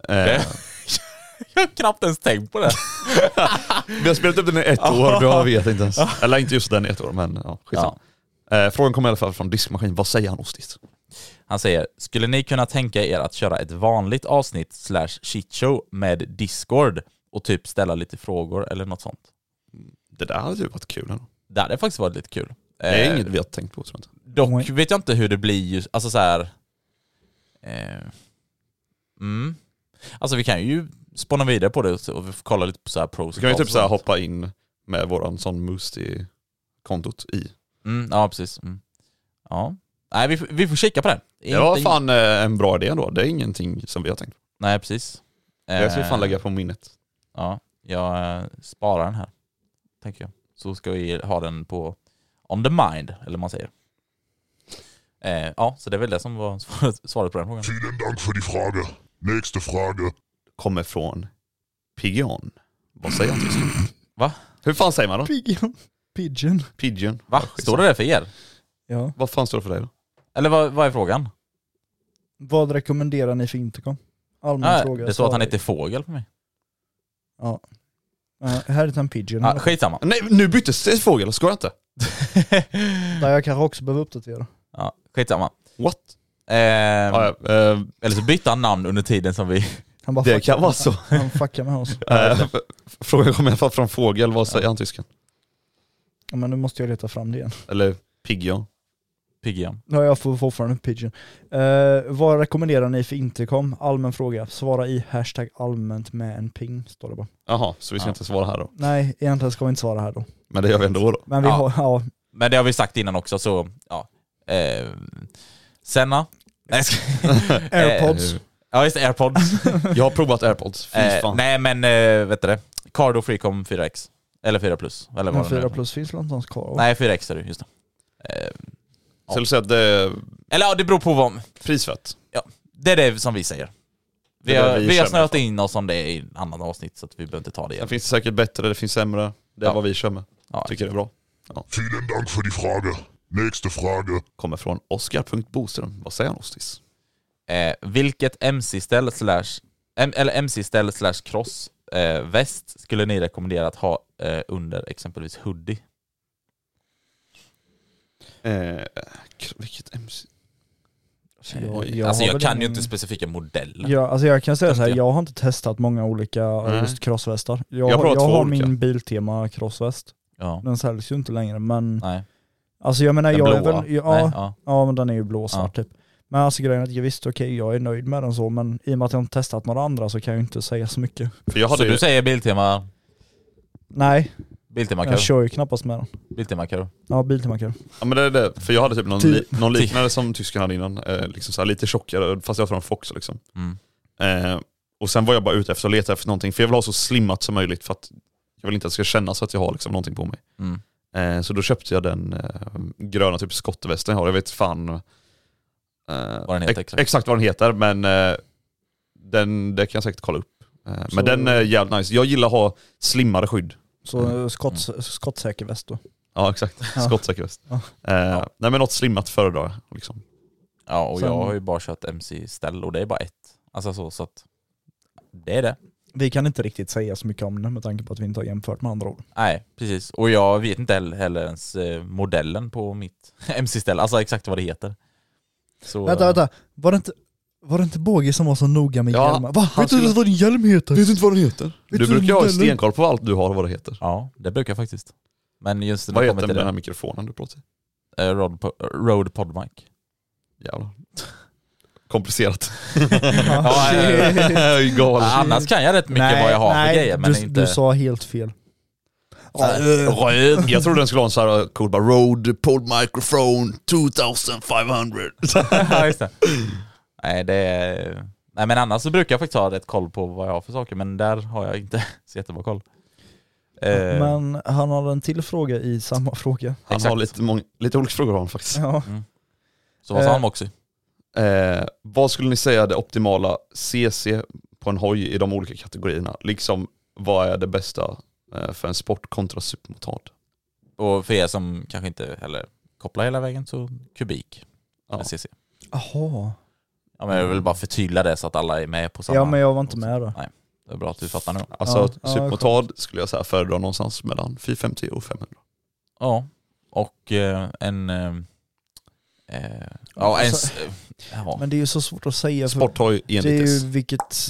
Speaker 2: Det- jag har knappt ens tänkt på det.
Speaker 4: Vi har spelat upp den i ett år, jag vet inte ens. Eller inte just den i ett år, men ja, skitsamma. Eh, frågan kommer i alla fall från diskmaskin. Vad säger han ostigt?
Speaker 2: Han säger, skulle ni kunna tänka er att köra ett vanligt avsnitt slash shitshow med Discord och typ ställa lite frågor eller något sånt?
Speaker 4: Det där hade ju varit kul ändå.
Speaker 2: Det hade faktiskt varit lite kul.
Speaker 4: Det är
Speaker 2: Eh,
Speaker 4: inget vi har tänkt på tror jag inte.
Speaker 2: Dock vet jag inte hur det blir just, alltså så här. Eh, mm. Alltså vi kan ju spåna vidare på det och- och vi får kolla lite på så här pros
Speaker 4: Så kan vi
Speaker 2: och
Speaker 4: typ
Speaker 2: cons
Speaker 4: så här
Speaker 2: och sånt.
Speaker 4: hoppa in med våran sån Moosty-kontot i.
Speaker 2: Mm, ja, precis. Mm. Ja. Nej, vi, får- vi får kika på det.
Speaker 4: Det var
Speaker 2: Inte-
Speaker 4: fan eh, en bra idé ändå. Det är ingenting som vi har tänkt på.
Speaker 2: Nej, precis.
Speaker 4: Det ska vi fan
Speaker 2: Eh,
Speaker 4: lägga på minnet.
Speaker 2: Ja, jag eh, sparar den här, tänker jag. Så ska vi ha den på on the mind, eller vad man säger. Eh, ja, så det är väl det som var <laughs> svaret, svaret på den frågan.
Speaker 11: Vielen Dank für die Frage. Nächste Frage.
Speaker 4: Kommer från Pigeon. Vad säger han till slut?
Speaker 2: <laughs> Va?
Speaker 4: Hur fan säger man då?
Speaker 7: Pigeon. Pigeon.
Speaker 4: Pigeon.
Speaker 2: Va? Står det där för er?
Speaker 7: Ja.
Speaker 4: Vad fan står det för dig då?
Speaker 2: Eller vad, vad är frågan?
Speaker 3: Vad rekommenderar ni för intercom? Allmän
Speaker 2: Nej,
Speaker 3: fråga.
Speaker 2: det står att han heter Fågel på mig.
Speaker 3: Ja. Nej, Här är en pigeon.
Speaker 2: Ja, skitsamma.
Speaker 4: Nej, nu byttes det fågel, ska jag inte?
Speaker 3: Där jag kanske också behöver uppdatera.
Speaker 2: Ja, skitsamma. Eh,
Speaker 4: What?
Speaker 2: eller så bytte han namn under tiden som vi... <laughs>
Speaker 3: Han bara
Speaker 4: eh, Det
Speaker 3: fuckar
Speaker 4: kan
Speaker 3: med-
Speaker 4: vara så.
Speaker 3: <laughs> Han fuckar med oss.
Speaker 4: Eh, f- Frågan kom i alla fall från fågel, vad säger han tysken?
Speaker 3: Ja, men nu måste jag leta fram det igen.
Speaker 4: Eller pigeon?
Speaker 2: Pigeon.
Speaker 3: Ja, jag får fortfarande en pigeon. Eh, vad rekommenderar ni för intercom? Allmän fråga. Svara i hashtag allmänt med en ping, står det bara.
Speaker 4: Jaha, så vi ska inte svara här då.
Speaker 3: Nej, egentligen ska vi inte svara här då.
Speaker 4: Men det gör vi ändå då.
Speaker 3: Men vi
Speaker 2: Ja.
Speaker 3: har, ja,
Speaker 2: Men det har vi sagt innan också, så ja. Eh, Senna? Nej, jag
Speaker 4: <laughs>
Speaker 2: ska-
Speaker 3: Airpods.
Speaker 2: Eh, ja just det, airpods.
Speaker 4: Jag har provat airpods, <laughs> fy
Speaker 2: eh,
Speaker 4: fan.
Speaker 2: Nej men, eh, vet du det? Cardo Freecom 4X. Eller 4 plus. Eller
Speaker 4: Mm,
Speaker 3: men
Speaker 2: vad det nu
Speaker 3: 4
Speaker 2: är.
Speaker 3: plus finns väl inte ens kvar? va?
Speaker 2: Nej 4X är det, just det. Eh,
Speaker 4: Så du säger att det är
Speaker 2: eller ja, det beror på vad...
Speaker 4: prisvärt?
Speaker 2: Ja, det är det som vi säger. Vi
Speaker 4: Det är det
Speaker 2: har,
Speaker 4: vi
Speaker 2: vi har
Speaker 4: kör
Speaker 2: snöat in oss om det i ett annat avsnitt så att vi behöver inte ta det igen.
Speaker 4: Sen finns det säkert bättre, det finns sämre. Det är
Speaker 2: Ja.
Speaker 4: vad vi kör med.
Speaker 2: Ja.
Speaker 4: Tycker det är bra. Ja.
Speaker 11: Vielen Dank für die Frage. Nächste Frage.
Speaker 4: Kommer från Oskar.Boström. Vad säger han Ostis?
Speaker 2: Eh, vilket MC-ställ slash, M- eller MC-ställ slash cross eh, väst skulle ni rekommendera att ha eh, under exempelvis hoodie?
Speaker 4: Eh, k- vilket MC?
Speaker 3: Så jag-
Speaker 2: Eh,
Speaker 3: jag
Speaker 2: alltså
Speaker 3: har
Speaker 2: jag
Speaker 3: väl
Speaker 2: kan ju
Speaker 3: ingen-
Speaker 2: inte specifika modeller.
Speaker 3: Ja, alltså jag kan säga så här,
Speaker 2: Tänker
Speaker 3: jag har inte testat många olika
Speaker 2: Nej.
Speaker 3: just crossvästar. Jag,
Speaker 2: Jag har
Speaker 3: jag,
Speaker 2: provat två
Speaker 3: har
Speaker 2: olika.
Speaker 3: min Biltema crossväst.
Speaker 2: Ja.
Speaker 3: Den säljs ju inte längre men...
Speaker 2: Nej.
Speaker 3: Alltså jag menar
Speaker 2: Den
Speaker 3: jag
Speaker 2: blåa?
Speaker 3: är väl... Ja,
Speaker 2: Nej, ja.
Speaker 3: ja. men den är ju blå och svart typ. Men alltså grejen är att jag visst okej jag är nöjd med den så men i och med att jag inte testat några andra så kan jag ju inte säga så mycket.
Speaker 4: För jag
Speaker 2: Så
Speaker 4: hade ju,
Speaker 2: du säger Biltema,
Speaker 3: Nej,
Speaker 2: Biltema
Speaker 3: jag
Speaker 2: Karo?
Speaker 3: kör ju knappast med den.
Speaker 2: Biltema Karo?
Speaker 3: Ja, Biltema kan.
Speaker 4: ja, men det är det. För jag hade typ någon,
Speaker 3: Typ.
Speaker 4: li, någon liknande som tysken hade innan. Eh, liksom så här, lite tjockare, fast jag tror en Fox liksom.
Speaker 2: Mm.
Speaker 4: Eh, och sen var jag bara ute efter att leta efter någonting, för jag vill ha så slimmat som möjligt för att jag vill inte att det ska kännas att jag har liksom någonting på mig.
Speaker 2: Mm.
Speaker 4: Eh, så då köpte jag den eh, gröna typ skottvästen jag har, jag vet fan eh,
Speaker 2: Vad den heter
Speaker 4: ex-
Speaker 2: exakt.
Speaker 4: exakt vad den heter men eh, den, det kan jag säkert kolla upp. Eh,
Speaker 3: Så-
Speaker 4: men den är jävligt nice, jag gillar att ha slimmare skydd.
Speaker 3: Så
Speaker 2: Mm.
Speaker 3: skotts, skottsäker väst då.
Speaker 4: Ja exakt,
Speaker 3: Ja.
Speaker 4: skottsäker väst.
Speaker 3: Ja.
Speaker 4: Eh, Nej men något slimmat föredrar jag. Liksom.
Speaker 2: Ja och
Speaker 3: Sen-
Speaker 2: jag har ju bara kört MC-ställ och det är bara ett. Alltså så, så att det är det.
Speaker 3: Vi kan inte riktigt säga så mycket om den med tanke på att vi inte har jämfört med andra ord.
Speaker 2: Nej precis, och jag vet inte heller, heller ens eh, modellen på mitt <laughs> MC-ställ, alltså exakt vad det heter. Så, eh,
Speaker 3: Vänta, vänta. Var det inte, var det inte Båge som var så noga med
Speaker 4: Ja,
Speaker 3: hjälmar? Va?
Speaker 4: han
Speaker 3: Vet du
Speaker 4: skulle-
Speaker 3: inte vad din hjälm heter?
Speaker 4: du inte vad den heter? Du
Speaker 3: Vet du
Speaker 4: brukar ju ha
Speaker 3: modellen?
Speaker 4: stenkoll på allt du har och vad det heter.
Speaker 2: Ja, det brukar jag faktiskt. Men just när
Speaker 4: Vad
Speaker 2: det
Speaker 4: heter
Speaker 2: kommer till
Speaker 4: den här
Speaker 2: det,
Speaker 4: mikrofonen du pratar i?
Speaker 2: eh, Rode Po- Rode Podmic.
Speaker 4: Jävlar. Komplicerat.
Speaker 2: <laughs>
Speaker 3: <laughs>
Speaker 4: <laughs>
Speaker 2: Ja, eh,
Speaker 4: Galet.
Speaker 2: annars kan jag rätt mycket vad jag har
Speaker 3: nej,
Speaker 2: för grejer men
Speaker 3: du,
Speaker 2: inte...
Speaker 3: du sa helt fel. eh. <laughs>
Speaker 4: Röd. Jag trodde den skulle ha en sån här cool bara Rode Pod Microphone
Speaker 3: <laughs>
Speaker 4: 2500.
Speaker 2: <laughs> ja, just det. Nej, det är... Nej, men annars så brukar jag faktiskt ha rätt koll på vad jag har för saker, men där har jag inte <laughs> så jättebra koll. Eh,
Speaker 3: Men han hade en till fråga i samma <laughs> fråga.
Speaker 4: Han har
Speaker 2: Exakt.
Speaker 4: lite, många, lite olika frågor har han faktiskt.
Speaker 3: Ja.
Speaker 2: så vad sa
Speaker 3: eh,
Speaker 2: han också?
Speaker 4: Eh, vad skulle ni säga är det optimala CC på en hoj i de olika kategorierna? Liksom vad är det bästa eh, för en sport kontra supermotard?
Speaker 2: Och för er som kanske inte heller kopplar hela vägen, så kubik.
Speaker 4: Ja.
Speaker 2: Ja. CC.
Speaker 3: Jaha.
Speaker 2: Ja, men jag vill bara förtydliga det så att alla är med på samma...
Speaker 3: Ja men jag var inte med då.
Speaker 2: Nej, det är bra att du fattar nu.
Speaker 4: Alltså
Speaker 3: Ja, ja,
Speaker 4: supermotard skulle jag säga föredrar någonstans mellan 450 och 500.
Speaker 2: Ja, och eh, en... eh, Eh, ja, en... s- eh, Ja.
Speaker 3: Men det är ju så svårt att säga. För
Speaker 4: Sporthoj
Speaker 3: det är
Speaker 4: enligt S.
Speaker 3: ju vilket...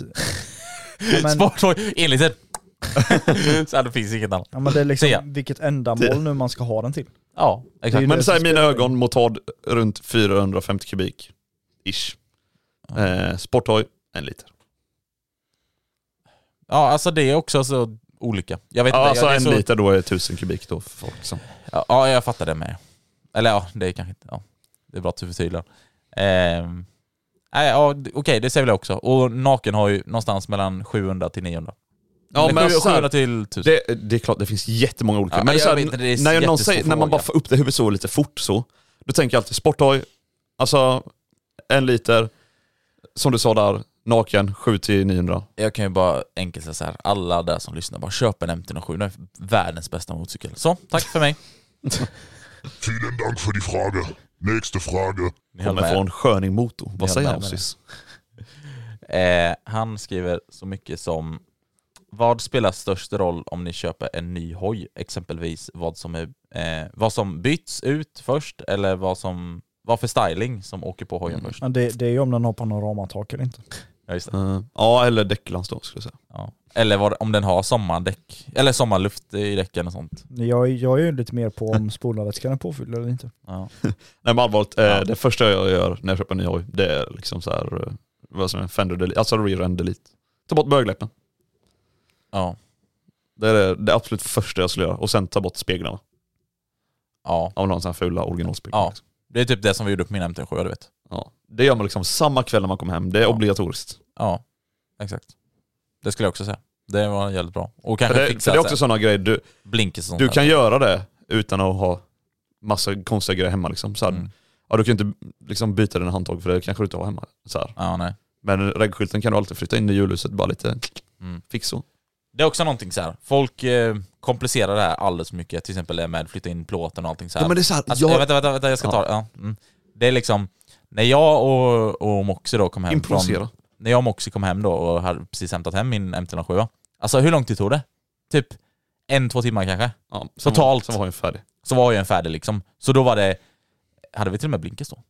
Speaker 3: Ja,
Speaker 2: <laughs>
Speaker 3: men,
Speaker 2: Sporthoj, enligt en. så det finns inget annat.
Speaker 3: ja, men det är liksom
Speaker 2: Säga.
Speaker 3: vilket ändamål nu man ska ha den till.
Speaker 2: Ja,
Speaker 3: Det är ju
Speaker 2: exakt.
Speaker 4: Men så här i
Speaker 3: som
Speaker 4: mina
Speaker 3: spelar in.
Speaker 4: ögon, motard runt 450 kubik. Ish. Eh, sporthoj, en liter.
Speaker 2: Ja, alltså det är också så olika. Jag vet
Speaker 4: Ja,
Speaker 2: inte,
Speaker 4: alltså
Speaker 2: jag, det är
Speaker 4: en
Speaker 2: så,
Speaker 4: liter då är 1000 kubik då för folk som...
Speaker 2: Ja, Ja, jag fattar det med. Eller ja, det är kanske inte... Ja, det är bra att du förtydligar. Ehm, nej, ja, d- okej, det säger väl jag också. Och naken har ju någonstans mellan 700 till 900.
Speaker 4: Ja,
Speaker 2: Eller
Speaker 4: men
Speaker 2: sju-
Speaker 4: så här-
Speaker 2: 700 till 1000.
Speaker 4: Det, det är klart, det finns jättemånga olika.
Speaker 2: Ja,
Speaker 4: men
Speaker 2: jag
Speaker 4: så här,
Speaker 2: vet inte, det är
Speaker 4: när, jag någon
Speaker 2: jättestor
Speaker 4: säger, när man
Speaker 2: fråga.
Speaker 4: bara får upp det i huvudet så lite fort så, då tänker jag alltid sporthoj, alltså en liter, som du sa där, naken, 7 till 900.
Speaker 2: Jag kan ju bara enkelt säga så här, alla där som lyssnar, bara köp en MT-07. Den är världens bästa motorcykel. Så, tack för mig.
Speaker 11: Vielen Dank für die Frage. Nächste Frage.
Speaker 4: Kommer från Sköningmotor. Vad säger Ausis?
Speaker 2: Eh, han skriver så mycket som Vad spelar störst roll om ni köper en ny hoj? Exempelvis vad som, är, eh, vad som byts ut först eller vad, som, vad för styling som åker på hojen först.
Speaker 3: Men det, det är ju om den har panoramatak eller inte.
Speaker 2: Ja, just det.
Speaker 4: Mm. Eh, Ja, eller däcklans då skulle jag säga.
Speaker 2: Ja. Eller vad, om den har sommardäck, eller sommarluft i däcken och sånt.
Speaker 3: Jag, jag är ju lite mer på om spolarvätskan är påfylld eller inte.
Speaker 2: Ja.
Speaker 4: Nej men allvarligt, eh, det första jag gör när jag köper en ny hoj, det är liksom så här, eh, vad som är fender delete, alltså rear end delete. Ta bort bögläppen.
Speaker 2: Ja.
Speaker 4: Det är det, det absolut första jag skulle göra. Och sen ta bort speglarna.
Speaker 2: Ja.
Speaker 4: Om man har en sån här fula originalspeglar.
Speaker 2: Ja. Det är typ det som vi gjorde på min MT7, du vet.
Speaker 4: Ja. Det gör man liksom samma kväll när man kommer hem. Det är obligatoriskt.
Speaker 2: Ja, exakt. Det skulle jag också säga. Det var jävligt bra. Och kanske
Speaker 4: För det,
Speaker 2: fixa
Speaker 4: för det är också
Speaker 2: så här
Speaker 4: sådana grejer, du,
Speaker 2: blinkers och sånt
Speaker 4: du
Speaker 2: där.
Speaker 4: kan göra det utan att ha massa konstiga grejer hemma. Liksom. Så här,
Speaker 2: Mm.
Speaker 4: ja, du kan ju inte liksom, byta dina handtag för det kanske du inte har hemma. Så här.
Speaker 2: Ja, nej.
Speaker 4: Men regskylten kan du alltid flytta in i julhuset, bara lite
Speaker 2: Mm.
Speaker 4: fix så.
Speaker 2: Det är också någonting så här. folk eh, komplicerar det här alldeles för mycket, till exempel det med att flytta in plåten och allting så här.
Speaker 4: Ja, men det är så här,
Speaker 2: alltså,
Speaker 4: jag-
Speaker 2: Vänta, vänta, vänta, jag ska
Speaker 4: Ja.
Speaker 2: ta det. Ja. Mm. Det är liksom, när jag och, och Moxie då kom hem
Speaker 4: Improvisera.
Speaker 2: från... När jag och Moxie kom hem då och hade precis hämtat hem min MT-07, alltså hur lång tid tog det? Typ en, två timmar kanske?
Speaker 4: Ja, som-
Speaker 2: Totalt.
Speaker 4: som var ju färdig.
Speaker 2: Så var jag en färdig liksom. Så då var det, hade vi till och med blinkers då?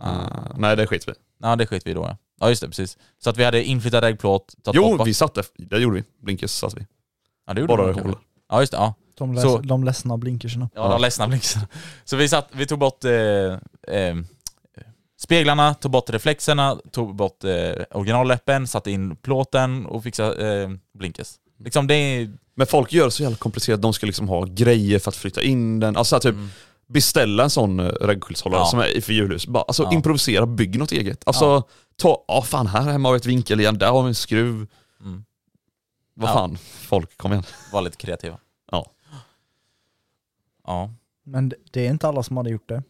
Speaker 4: Ah. Nej det skiter vi
Speaker 2: Ja det skiter vi i då ja. Ja just det, precis. Så att vi hade inflyttad äggplåt, tagit bort
Speaker 4: Jo,
Speaker 2: bak-
Speaker 4: vi satte, det gjorde vi. Blinkers satte vi.
Speaker 2: Ja, det gjorde
Speaker 4: Bara
Speaker 2: vi
Speaker 4: det
Speaker 2: kanske.
Speaker 4: håller.
Speaker 2: Ja just det, ja.
Speaker 3: De, läs,
Speaker 2: Så-
Speaker 3: de ledsna blinkerserna.
Speaker 2: Ja, de ledsna blixtarna. Så vi, satt, vi tog bort eh, eh, speglarna, tog bort reflexerna, tog bort eh, originalläppen, satte in plåten och fixade eh, blinkers.
Speaker 3: Mm.
Speaker 2: Liksom det är...
Speaker 4: Men folk gör det så jävla komplicerat. De ska liksom ha grejer för att flytta in den. Alltså typ
Speaker 3: Mm.
Speaker 4: beställa en sån eh, regskyltshållare
Speaker 2: Ja.
Speaker 4: som är för julhus. Bara, alltså
Speaker 2: Ja.
Speaker 4: improvisera, bygg något eget. Alltså
Speaker 2: Ja.
Speaker 4: ta, ja fan här hemma har vi ett vinkeljärn, där har vi en skruv.
Speaker 2: Mm.
Speaker 4: Vad
Speaker 2: Ja.
Speaker 4: fan, folk kom igen.
Speaker 2: Var lite kreativa.
Speaker 4: Ja.
Speaker 2: Ja.
Speaker 3: Men det- det är inte alla som hade gjort det.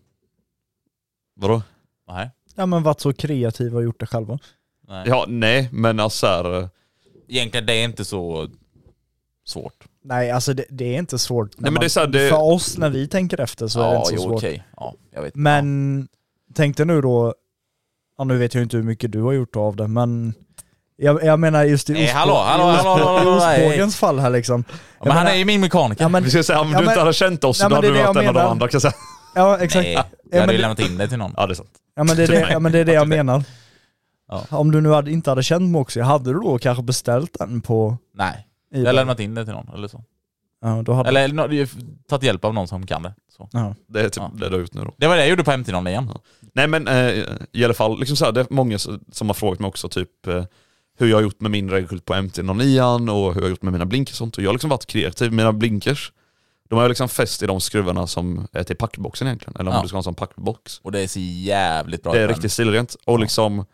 Speaker 4: Vadå?
Speaker 2: Nej.
Speaker 3: Ja men varit så kreativa och gjort det själva.
Speaker 2: Nej.
Speaker 4: Ja, nej men alltså här, eh,
Speaker 2: Egentligen det är inte så svårt.
Speaker 3: Nej alltså det, det är inte svårt. när
Speaker 4: Nej, men det är så här, det-
Speaker 3: För oss när vi tänker efter så är det inte så
Speaker 2: jo,
Speaker 3: svårt. Mm.
Speaker 2: okej. Ja, jag vet.
Speaker 3: Men tänk dig nu då, ja, nu vet jag inte hur mycket du har gjort av det men jag, jag menar just i
Speaker 2: Nej,
Speaker 3: ostbå-
Speaker 2: hallå, hallå,
Speaker 3: i
Speaker 2: hallå, hallå, hallå,
Speaker 3: i
Speaker 2: hallå, hallå,
Speaker 3: ostbågens fall här liksom.
Speaker 2: Ja, men han är ju min mekaniker.
Speaker 3: Ja, men-
Speaker 4: vi ska säga om
Speaker 3: ja,
Speaker 4: du
Speaker 3: men-
Speaker 4: inte hade känt oss
Speaker 3: Nej,
Speaker 4: då
Speaker 3: men
Speaker 4: hade
Speaker 3: det
Speaker 4: du
Speaker 3: är
Speaker 4: varit
Speaker 3: det
Speaker 4: en
Speaker 3: jag
Speaker 4: av de
Speaker 3: menar.
Speaker 4: andra kan jag säga. <laughs>
Speaker 3: Ja exakt.
Speaker 2: Nej,
Speaker 3: <laughs> Ja,
Speaker 2: jag
Speaker 3: men
Speaker 2: hade ju
Speaker 3: det-
Speaker 2: lämnat in det till någon.
Speaker 4: Ja det är sant.
Speaker 3: Ja men det är det, ja, men det, är
Speaker 2: <laughs>
Speaker 3: det jag menar.
Speaker 2: Ja.
Speaker 3: Om du nu hade, inte hade känt Moxie, hade du då kanske beställt den på...
Speaker 2: Nej.
Speaker 3: i-
Speaker 2: Jag har lämnat in det till någon eller så.
Speaker 3: Ja, då hade...
Speaker 2: Eller no, tagit hjälp av någon som kan det. Så.
Speaker 3: Ja.
Speaker 4: Det är typ
Speaker 2: Ja.
Speaker 4: det du har gjort nu då.
Speaker 2: Det var det jag gjorde på MT-0 igen.
Speaker 4: Nej men eh, i alla fall, liksom så här, det är många s- som har frågat mig också typ eh, hur jag har gjort med min regelskylt på MT-09 och hur jag har gjort med mina blinkers och sånt. Och jag har liksom varit kreativ. Mina blinkers, de har jag liksom fäst i de skruvarna som är till packboxen egentligen. Eller om
Speaker 2: Ja.
Speaker 4: du ska ha en sån packbox.
Speaker 2: Och det är så jävligt bra.
Speaker 4: det är
Speaker 2: ibland.
Speaker 4: riktigt stilrent. Och liksom,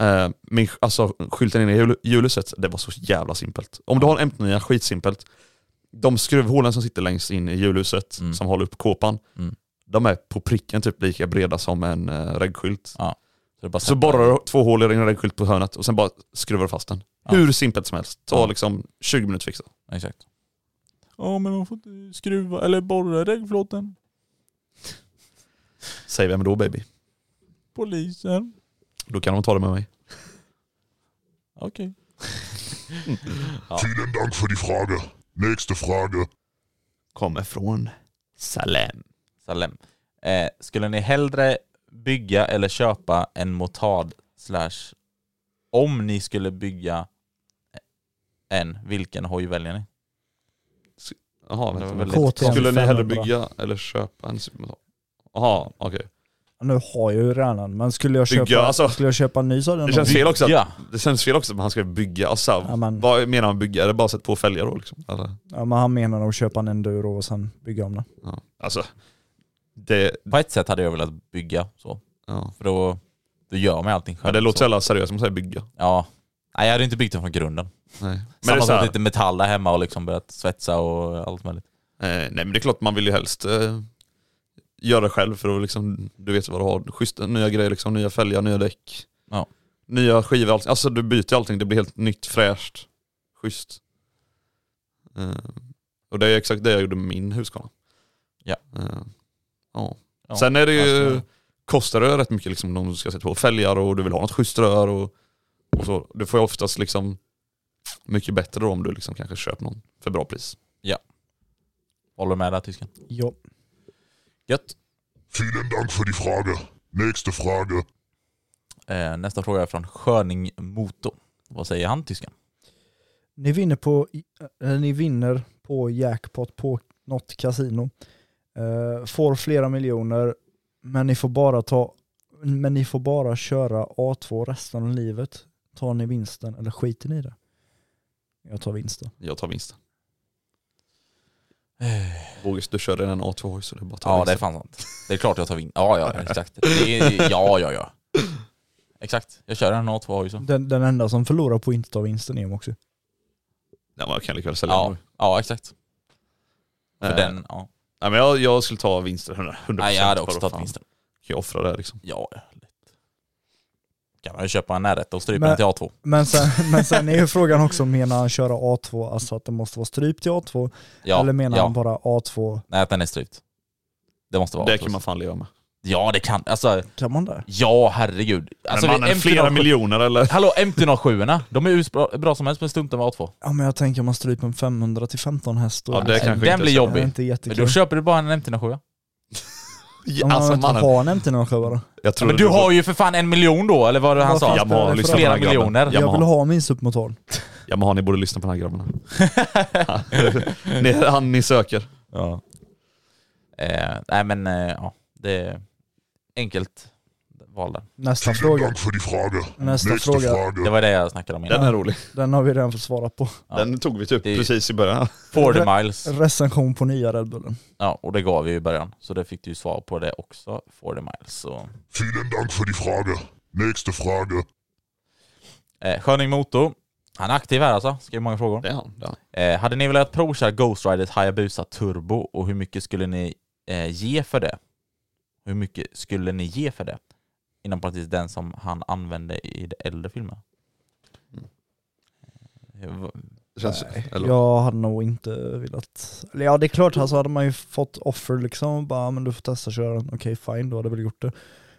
Speaker 4: eh, min, alltså skylten inne i jul- julhuset, det var så jävla simpelt. Om du har en MT-09, skitsimpelt. De skruvhålen som sitter längst in i julhuset,
Speaker 2: Mm.
Speaker 4: som håller upp kåpan,
Speaker 2: Mm.
Speaker 4: de är på pricken typ lika breda som en eh, regskylt.
Speaker 2: Så, det är bara
Speaker 4: Så borrar du två hål i din reggskylt på hörnet och sen bara skruvar du fast den.
Speaker 2: Ja.
Speaker 4: Hur simpelt som helst. Ta
Speaker 2: Ja.
Speaker 4: liksom 20 minuter att fixa.
Speaker 2: Exakt.
Speaker 12: Ja men man får inte skruva eller borra regnflåten.
Speaker 4: Säg vem då baby.
Speaker 12: Polisen.
Speaker 4: Då kan de ta det med mig.
Speaker 12: Okej.
Speaker 11: Vielen Dank für die Frage. Nächste Frage.
Speaker 4: Kommer från Salem.
Speaker 2: Salem. Eh, skulle ni hellre bygga eller köpa en motard slash om ni skulle bygga eh, en, vilken hoj väljer ni?
Speaker 4: Jaha,
Speaker 2: Det var
Speaker 4: vänta.
Speaker 2: väldigt
Speaker 3: konstigt.
Speaker 4: Skulle ni hellre
Speaker 3: 500.
Speaker 4: bygga eller köpa en supermotor? Jaha, okej.
Speaker 3: Nu har jag ju redan, men skulle jag
Speaker 4: Bygga,
Speaker 3: köpa,
Speaker 4: alltså.
Speaker 3: skulle jag köpa en ny så hade jag
Speaker 4: Det
Speaker 3: nog-
Speaker 4: känns fel också
Speaker 2: Bygga.
Speaker 4: att, det känns fel också att han ska bygga. Alltså,
Speaker 3: Ja, men,
Speaker 4: vad menar han bygga? Är det bara att sätta på fälgar då liksom? Eller?
Speaker 3: ja, men han menar nog köpa en enduro och sen bygga om den.
Speaker 4: Ja. Alltså, det,
Speaker 2: På ett sätt hade jag velat bygga så,
Speaker 4: ja.
Speaker 2: för då, då gör man allting själv.
Speaker 4: Men det låter så
Speaker 2: så.
Speaker 4: jävla seriöst om man säger bygga.
Speaker 2: Ja. Nej, jag hade inte byggt den från grunden.
Speaker 4: Nej. Men det är
Speaker 2: Samma
Speaker 4: så
Speaker 2: som
Speaker 4: här,
Speaker 2: lite metall där hemma och liksom börjat svetsa och allt möjligt.
Speaker 4: Eh, nej men det är klart man vill ju helst eh, göra det själv för att liksom, du vet vad du har. Schyssta, nya grejer, liksom, nya fälgar, nya däck.
Speaker 2: Ja.
Speaker 4: Nya skivor, allting. alltså du byter allting, det blir helt nytt, fräscht, schysst. Eh, och det är exakt det jag gjorde med min Husqvarna.
Speaker 2: Ja.
Speaker 4: Eh, ja. Ja, alltså, Sen är det ju, kostar det rätt mycket liksom om du ska sätta på fälgar och du vill ha något schysst rör och, och så. Du får ju oftast liksom mycket bättre då om du liksom kanske köper någon för bra pris.
Speaker 2: Ja. Håller med där tysken.
Speaker 3: Ja.
Speaker 2: Gött.
Speaker 11: Vielen Dank für die Frage. Nächste Frage.
Speaker 2: Eh, nästa fråga är från Sköning Moto. Vad säger han tysken?
Speaker 3: Ni vinner på, eller ni vinner på jackpot på något kasino. Eh, får flera miljoner, men ni får bara ta, men ni får bara köra A2 resten av livet. Tar ni vinsten eller skiter ni i det? Jag tar vinsten.
Speaker 4: Jag tar vinsten. Bogis, du kör redan A2 hoj så det är bara att ta
Speaker 2: Ja, det
Speaker 4: vinsten.
Speaker 2: är fan sant. Det är klart jag tar vin. Ja, ja, exakt. Det är, ja, ja, ja. Exakt. Jag kör en A2 hoj så.
Speaker 3: Den, den enda som förlorar på att inte ta vinsten är också.
Speaker 4: Nej, man kan lika väl sälja
Speaker 2: Ja,
Speaker 4: den.
Speaker 2: ja exakt. För
Speaker 4: Eh,
Speaker 2: den, ja.
Speaker 4: Nej men jag, jag skulle ta vinsten 100%. 100%
Speaker 2: Nej, jag hade
Speaker 4: bara,
Speaker 2: också
Speaker 4: vad
Speaker 2: tagit
Speaker 4: fan.
Speaker 2: vinsten.
Speaker 4: Kan jag offra det här, liksom?
Speaker 2: Ja, lätt. Kan man ju köpa en närrätt och strypa
Speaker 3: Men-
Speaker 2: den till A2.
Speaker 3: Men sen, <laughs> men sen är ju frågan också, menar han köra A2, alltså att det måste vara strypt till A2?
Speaker 2: Ja,
Speaker 3: eller menar
Speaker 2: ja.
Speaker 3: han bara A2?
Speaker 2: Nej, att den är strypt. Det måste vara
Speaker 4: Det
Speaker 2: A2.
Speaker 4: kan man fan leva med.
Speaker 2: Ja, det kan. Alltså,
Speaker 3: Kan man det?
Speaker 2: Ja, herregud. Alltså,
Speaker 4: mannen,
Speaker 2: MT-07
Speaker 4: flera miljoner, eller? <laughs>
Speaker 2: Hallå, MT-07 de är ju bra, bra som helst men stumt med A2.
Speaker 3: Ja men jag tänker om man stryper en 500 till 15 häst då.
Speaker 2: den blir
Speaker 3: Det är
Speaker 2: jobbig.
Speaker 3: inte
Speaker 2: men
Speaker 3: jättekul.
Speaker 2: då köper du bara en MT-07.
Speaker 3: Om
Speaker 2: alltså,
Speaker 4: alltså,
Speaker 3: man inte har en MT-07 då?
Speaker 4: Jag
Speaker 2: men du har ju för fan en miljon då, eller vad var det han
Speaker 3: Vad
Speaker 2: sa?
Speaker 3: finns det Yamaha, för- lyssna på
Speaker 2: flera
Speaker 3: den här grabben.
Speaker 2: miljoner.
Speaker 3: Jag vill ha min supermotor.
Speaker 4: Yamaha, ni borde lyssna på den här
Speaker 2: <laughs>
Speaker 4: grabben. ni, han ni söker.
Speaker 2: Ja. Eh, nej men, eh, ja. Det är enkelt val där.
Speaker 3: Nästa fråga. Nästa, fråga.
Speaker 2: Det var det jag snackade om innan.
Speaker 3: Den har vi redan fått svara på.
Speaker 4: Den tog vi typ precis i början.
Speaker 2: 40 miles.
Speaker 3: Recension på nya Red Bullen.
Speaker 2: Ja, och det gav vi ju i början. Så det fick du ju svar på det också, 40 miles. Så.
Speaker 11: Vielen Dank für die Frage. Nächste Frage.
Speaker 2: Eh, Sköning Motor. Han är aktiv här alltså, skriver många frågor.
Speaker 4: Det är han. Det är han.
Speaker 2: Eh, hade ni velat provköra Ghost Riders Hayabusa Turbo och hur mycket skulle ni eh, ge för det? Hur mycket skulle ni ge för det? Inom parentes den som han använde i de äldre filmerna. Mm. Eh, va-
Speaker 3: Nej, Jag hade nog inte velat... Eller ja det är klart, alltså hade man ju fått offer liksom, och bara men du får testa att köra den, okej fine, då hade jag väl gjort det.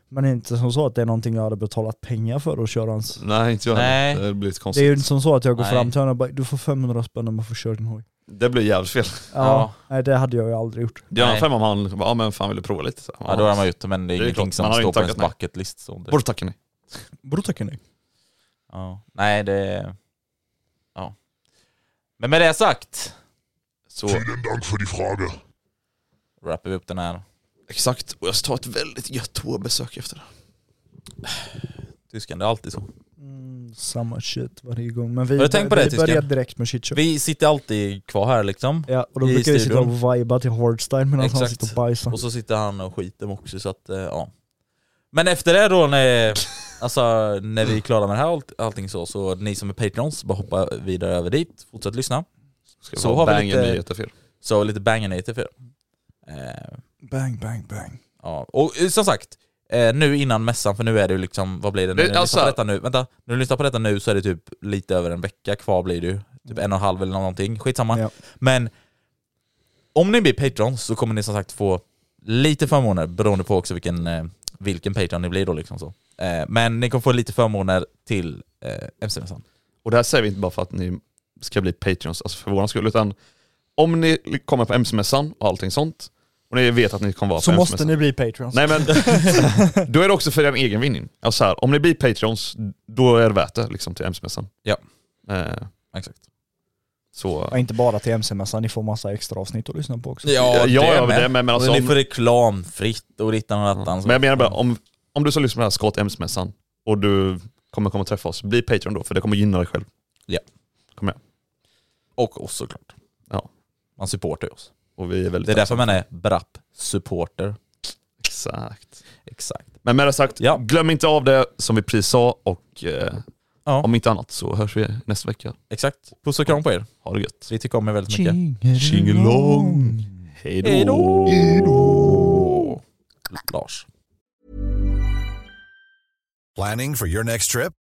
Speaker 3: Men inte som så att det är någonting jag hade betalat pengar för att köra ens.
Speaker 4: Nej, inte jag
Speaker 2: Nej.
Speaker 4: heller. Det blir lite
Speaker 3: Det
Speaker 4: konstigt.
Speaker 3: är ju inte som så att jag går
Speaker 4: Nej.
Speaker 3: fram till henne och bara du får 500 spänn om man får köra din hoj.
Speaker 4: Det blir jävligt fel.
Speaker 3: Ja, Nej det hade jag ju aldrig gjort.
Speaker 4: Det är en
Speaker 2: Nej.
Speaker 4: femma om han liksom, bara, ja men fan vill du prova lite? Så,
Speaker 2: Ja, då har man gjort, men det är ingenting
Speaker 4: klart,
Speaker 2: som
Speaker 4: man har
Speaker 2: står
Speaker 4: inte
Speaker 2: på ens
Speaker 4: tackat nej.
Speaker 2: bucket list, så det-
Speaker 4: Borde tacka nej.
Speaker 3: Borde tacka nej.
Speaker 2: Ja. Nej, det... Ja. Men med det sagt så
Speaker 11: Vielen Dank für die Frage.
Speaker 2: wrappar vi upp den här
Speaker 4: Exakt, och jag ska ta ett väldigt gött toabesök efter det.
Speaker 2: tysken. Det är alltid så.
Speaker 3: Mm, samma shit varje gång. Men vi,
Speaker 2: Har du tänkt på
Speaker 3: vi
Speaker 2: det, tysken?
Speaker 3: börjar direkt med shit
Speaker 2: Vi sitter alltid kvar här liksom.
Speaker 3: Ja, och då
Speaker 2: i
Speaker 3: brukar vi sitta
Speaker 2: studion.
Speaker 3: och viba till hardstyle medan han
Speaker 2: Exakt.
Speaker 3: sitter och bajsar.
Speaker 2: Och så sitter han och skiter också så att, eh, ja. Men efter det då när, alltså, när vi är klara med det här allt, allting så, så ni som är Patreons, bara hoppa vidare över dit, fortsätt lyssna.
Speaker 4: vi ha banger-nyheter för er.
Speaker 2: Så har vi lite banger-nyheter för er. Eh,
Speaker 3: Bang, bang, bang.
Speaker 2: ja. Och eh, som sagt, eh, nu innan mässan, för nu är det ju liksom, vad blir det?
Speaker 4: Det-
Speaker 2: När ni
Speaker 4: alltså-
Speaker 2: lyssnar på detta nu, vänta, när du lyssnar på detta nu så är det typ lite över en vecka kvar blir det ju. Typ en och en halv eller någonting, skitsamma. Men om ni blir Patreons så kommer ni som sagt få lite förmåner beroende på också vilken, eh, vilken Patreon ni blir då liksom så. Eh, Men ni kommer få lite förmåner till eh, MC-mässan.
Speaker 4: Och det här säger vi inte bara för att ni ska bli Patreons, alltså för våran skull, utan om ni kommer på MC-mässan och allting sånt, och ni vet att ni kommer vara
Speaker 3: Så
Speaker 4: på
Speaker 3: måste
Speaker 4: MC-mässan.
Speaker 3: ni bli Patreons.
Speaker 4: Nej men, <laughs> då är det också för er egen vinning. Alltså så här, om ni blir Patreons, då är det värt det liksom till MC-mässan.
Speaker 2: Ja.
Speaker 4: Eh,
Speaker 2: Exakt.
Speaker 4: Så...
Speaker 3: Ja, inte bara till MC-mässan, ni får massa extra avsnitt att lyssna på också.
Speaker 4: Ja, ja, det med. men alltså
Speaker 2: och ni
Speaker 4: om- Mm.
Speaker 2: får reklamfritt och dittan och dattan.
Speaker 4: Men jag menar bara, om, om du som lyssnar på det här ska till MS-mässan och du kommer komma träffa oss, bli Patreon då, för det kommer gynna dig själv.
Speaker 2: Ja.
Speaker 4: Kom igen.
Speaker 2: Och oss såklart.
Speaker 4: Ja.
Speaker 2: Man supportar ju oss.
Speaker 4: Och vi är väldigt
Speaker 2: Det är därför
Speaker 4: tacksamma.
Speaker 2: man är Brapp-supporter.
Speaker 4: Exakt.
Speaker 2: Exakt.
Speaker 4: Men med det sagt, glöm inte av det som vi precis sa och eh,
Speaker 2: Ja.
Speaker 4: om inte annat så hörs vi nästa vecka.
Speaker 2: Exakt. Puss och kram på er.
Speaker 4: Ha det gött.
Speaker 2: Vi tycker om er väldigt mycket.
Speaker 4: Tjingelong. Hej då.
Speaker 2: Hejdå! Lars.
Speaker 13: Planning for your next trip?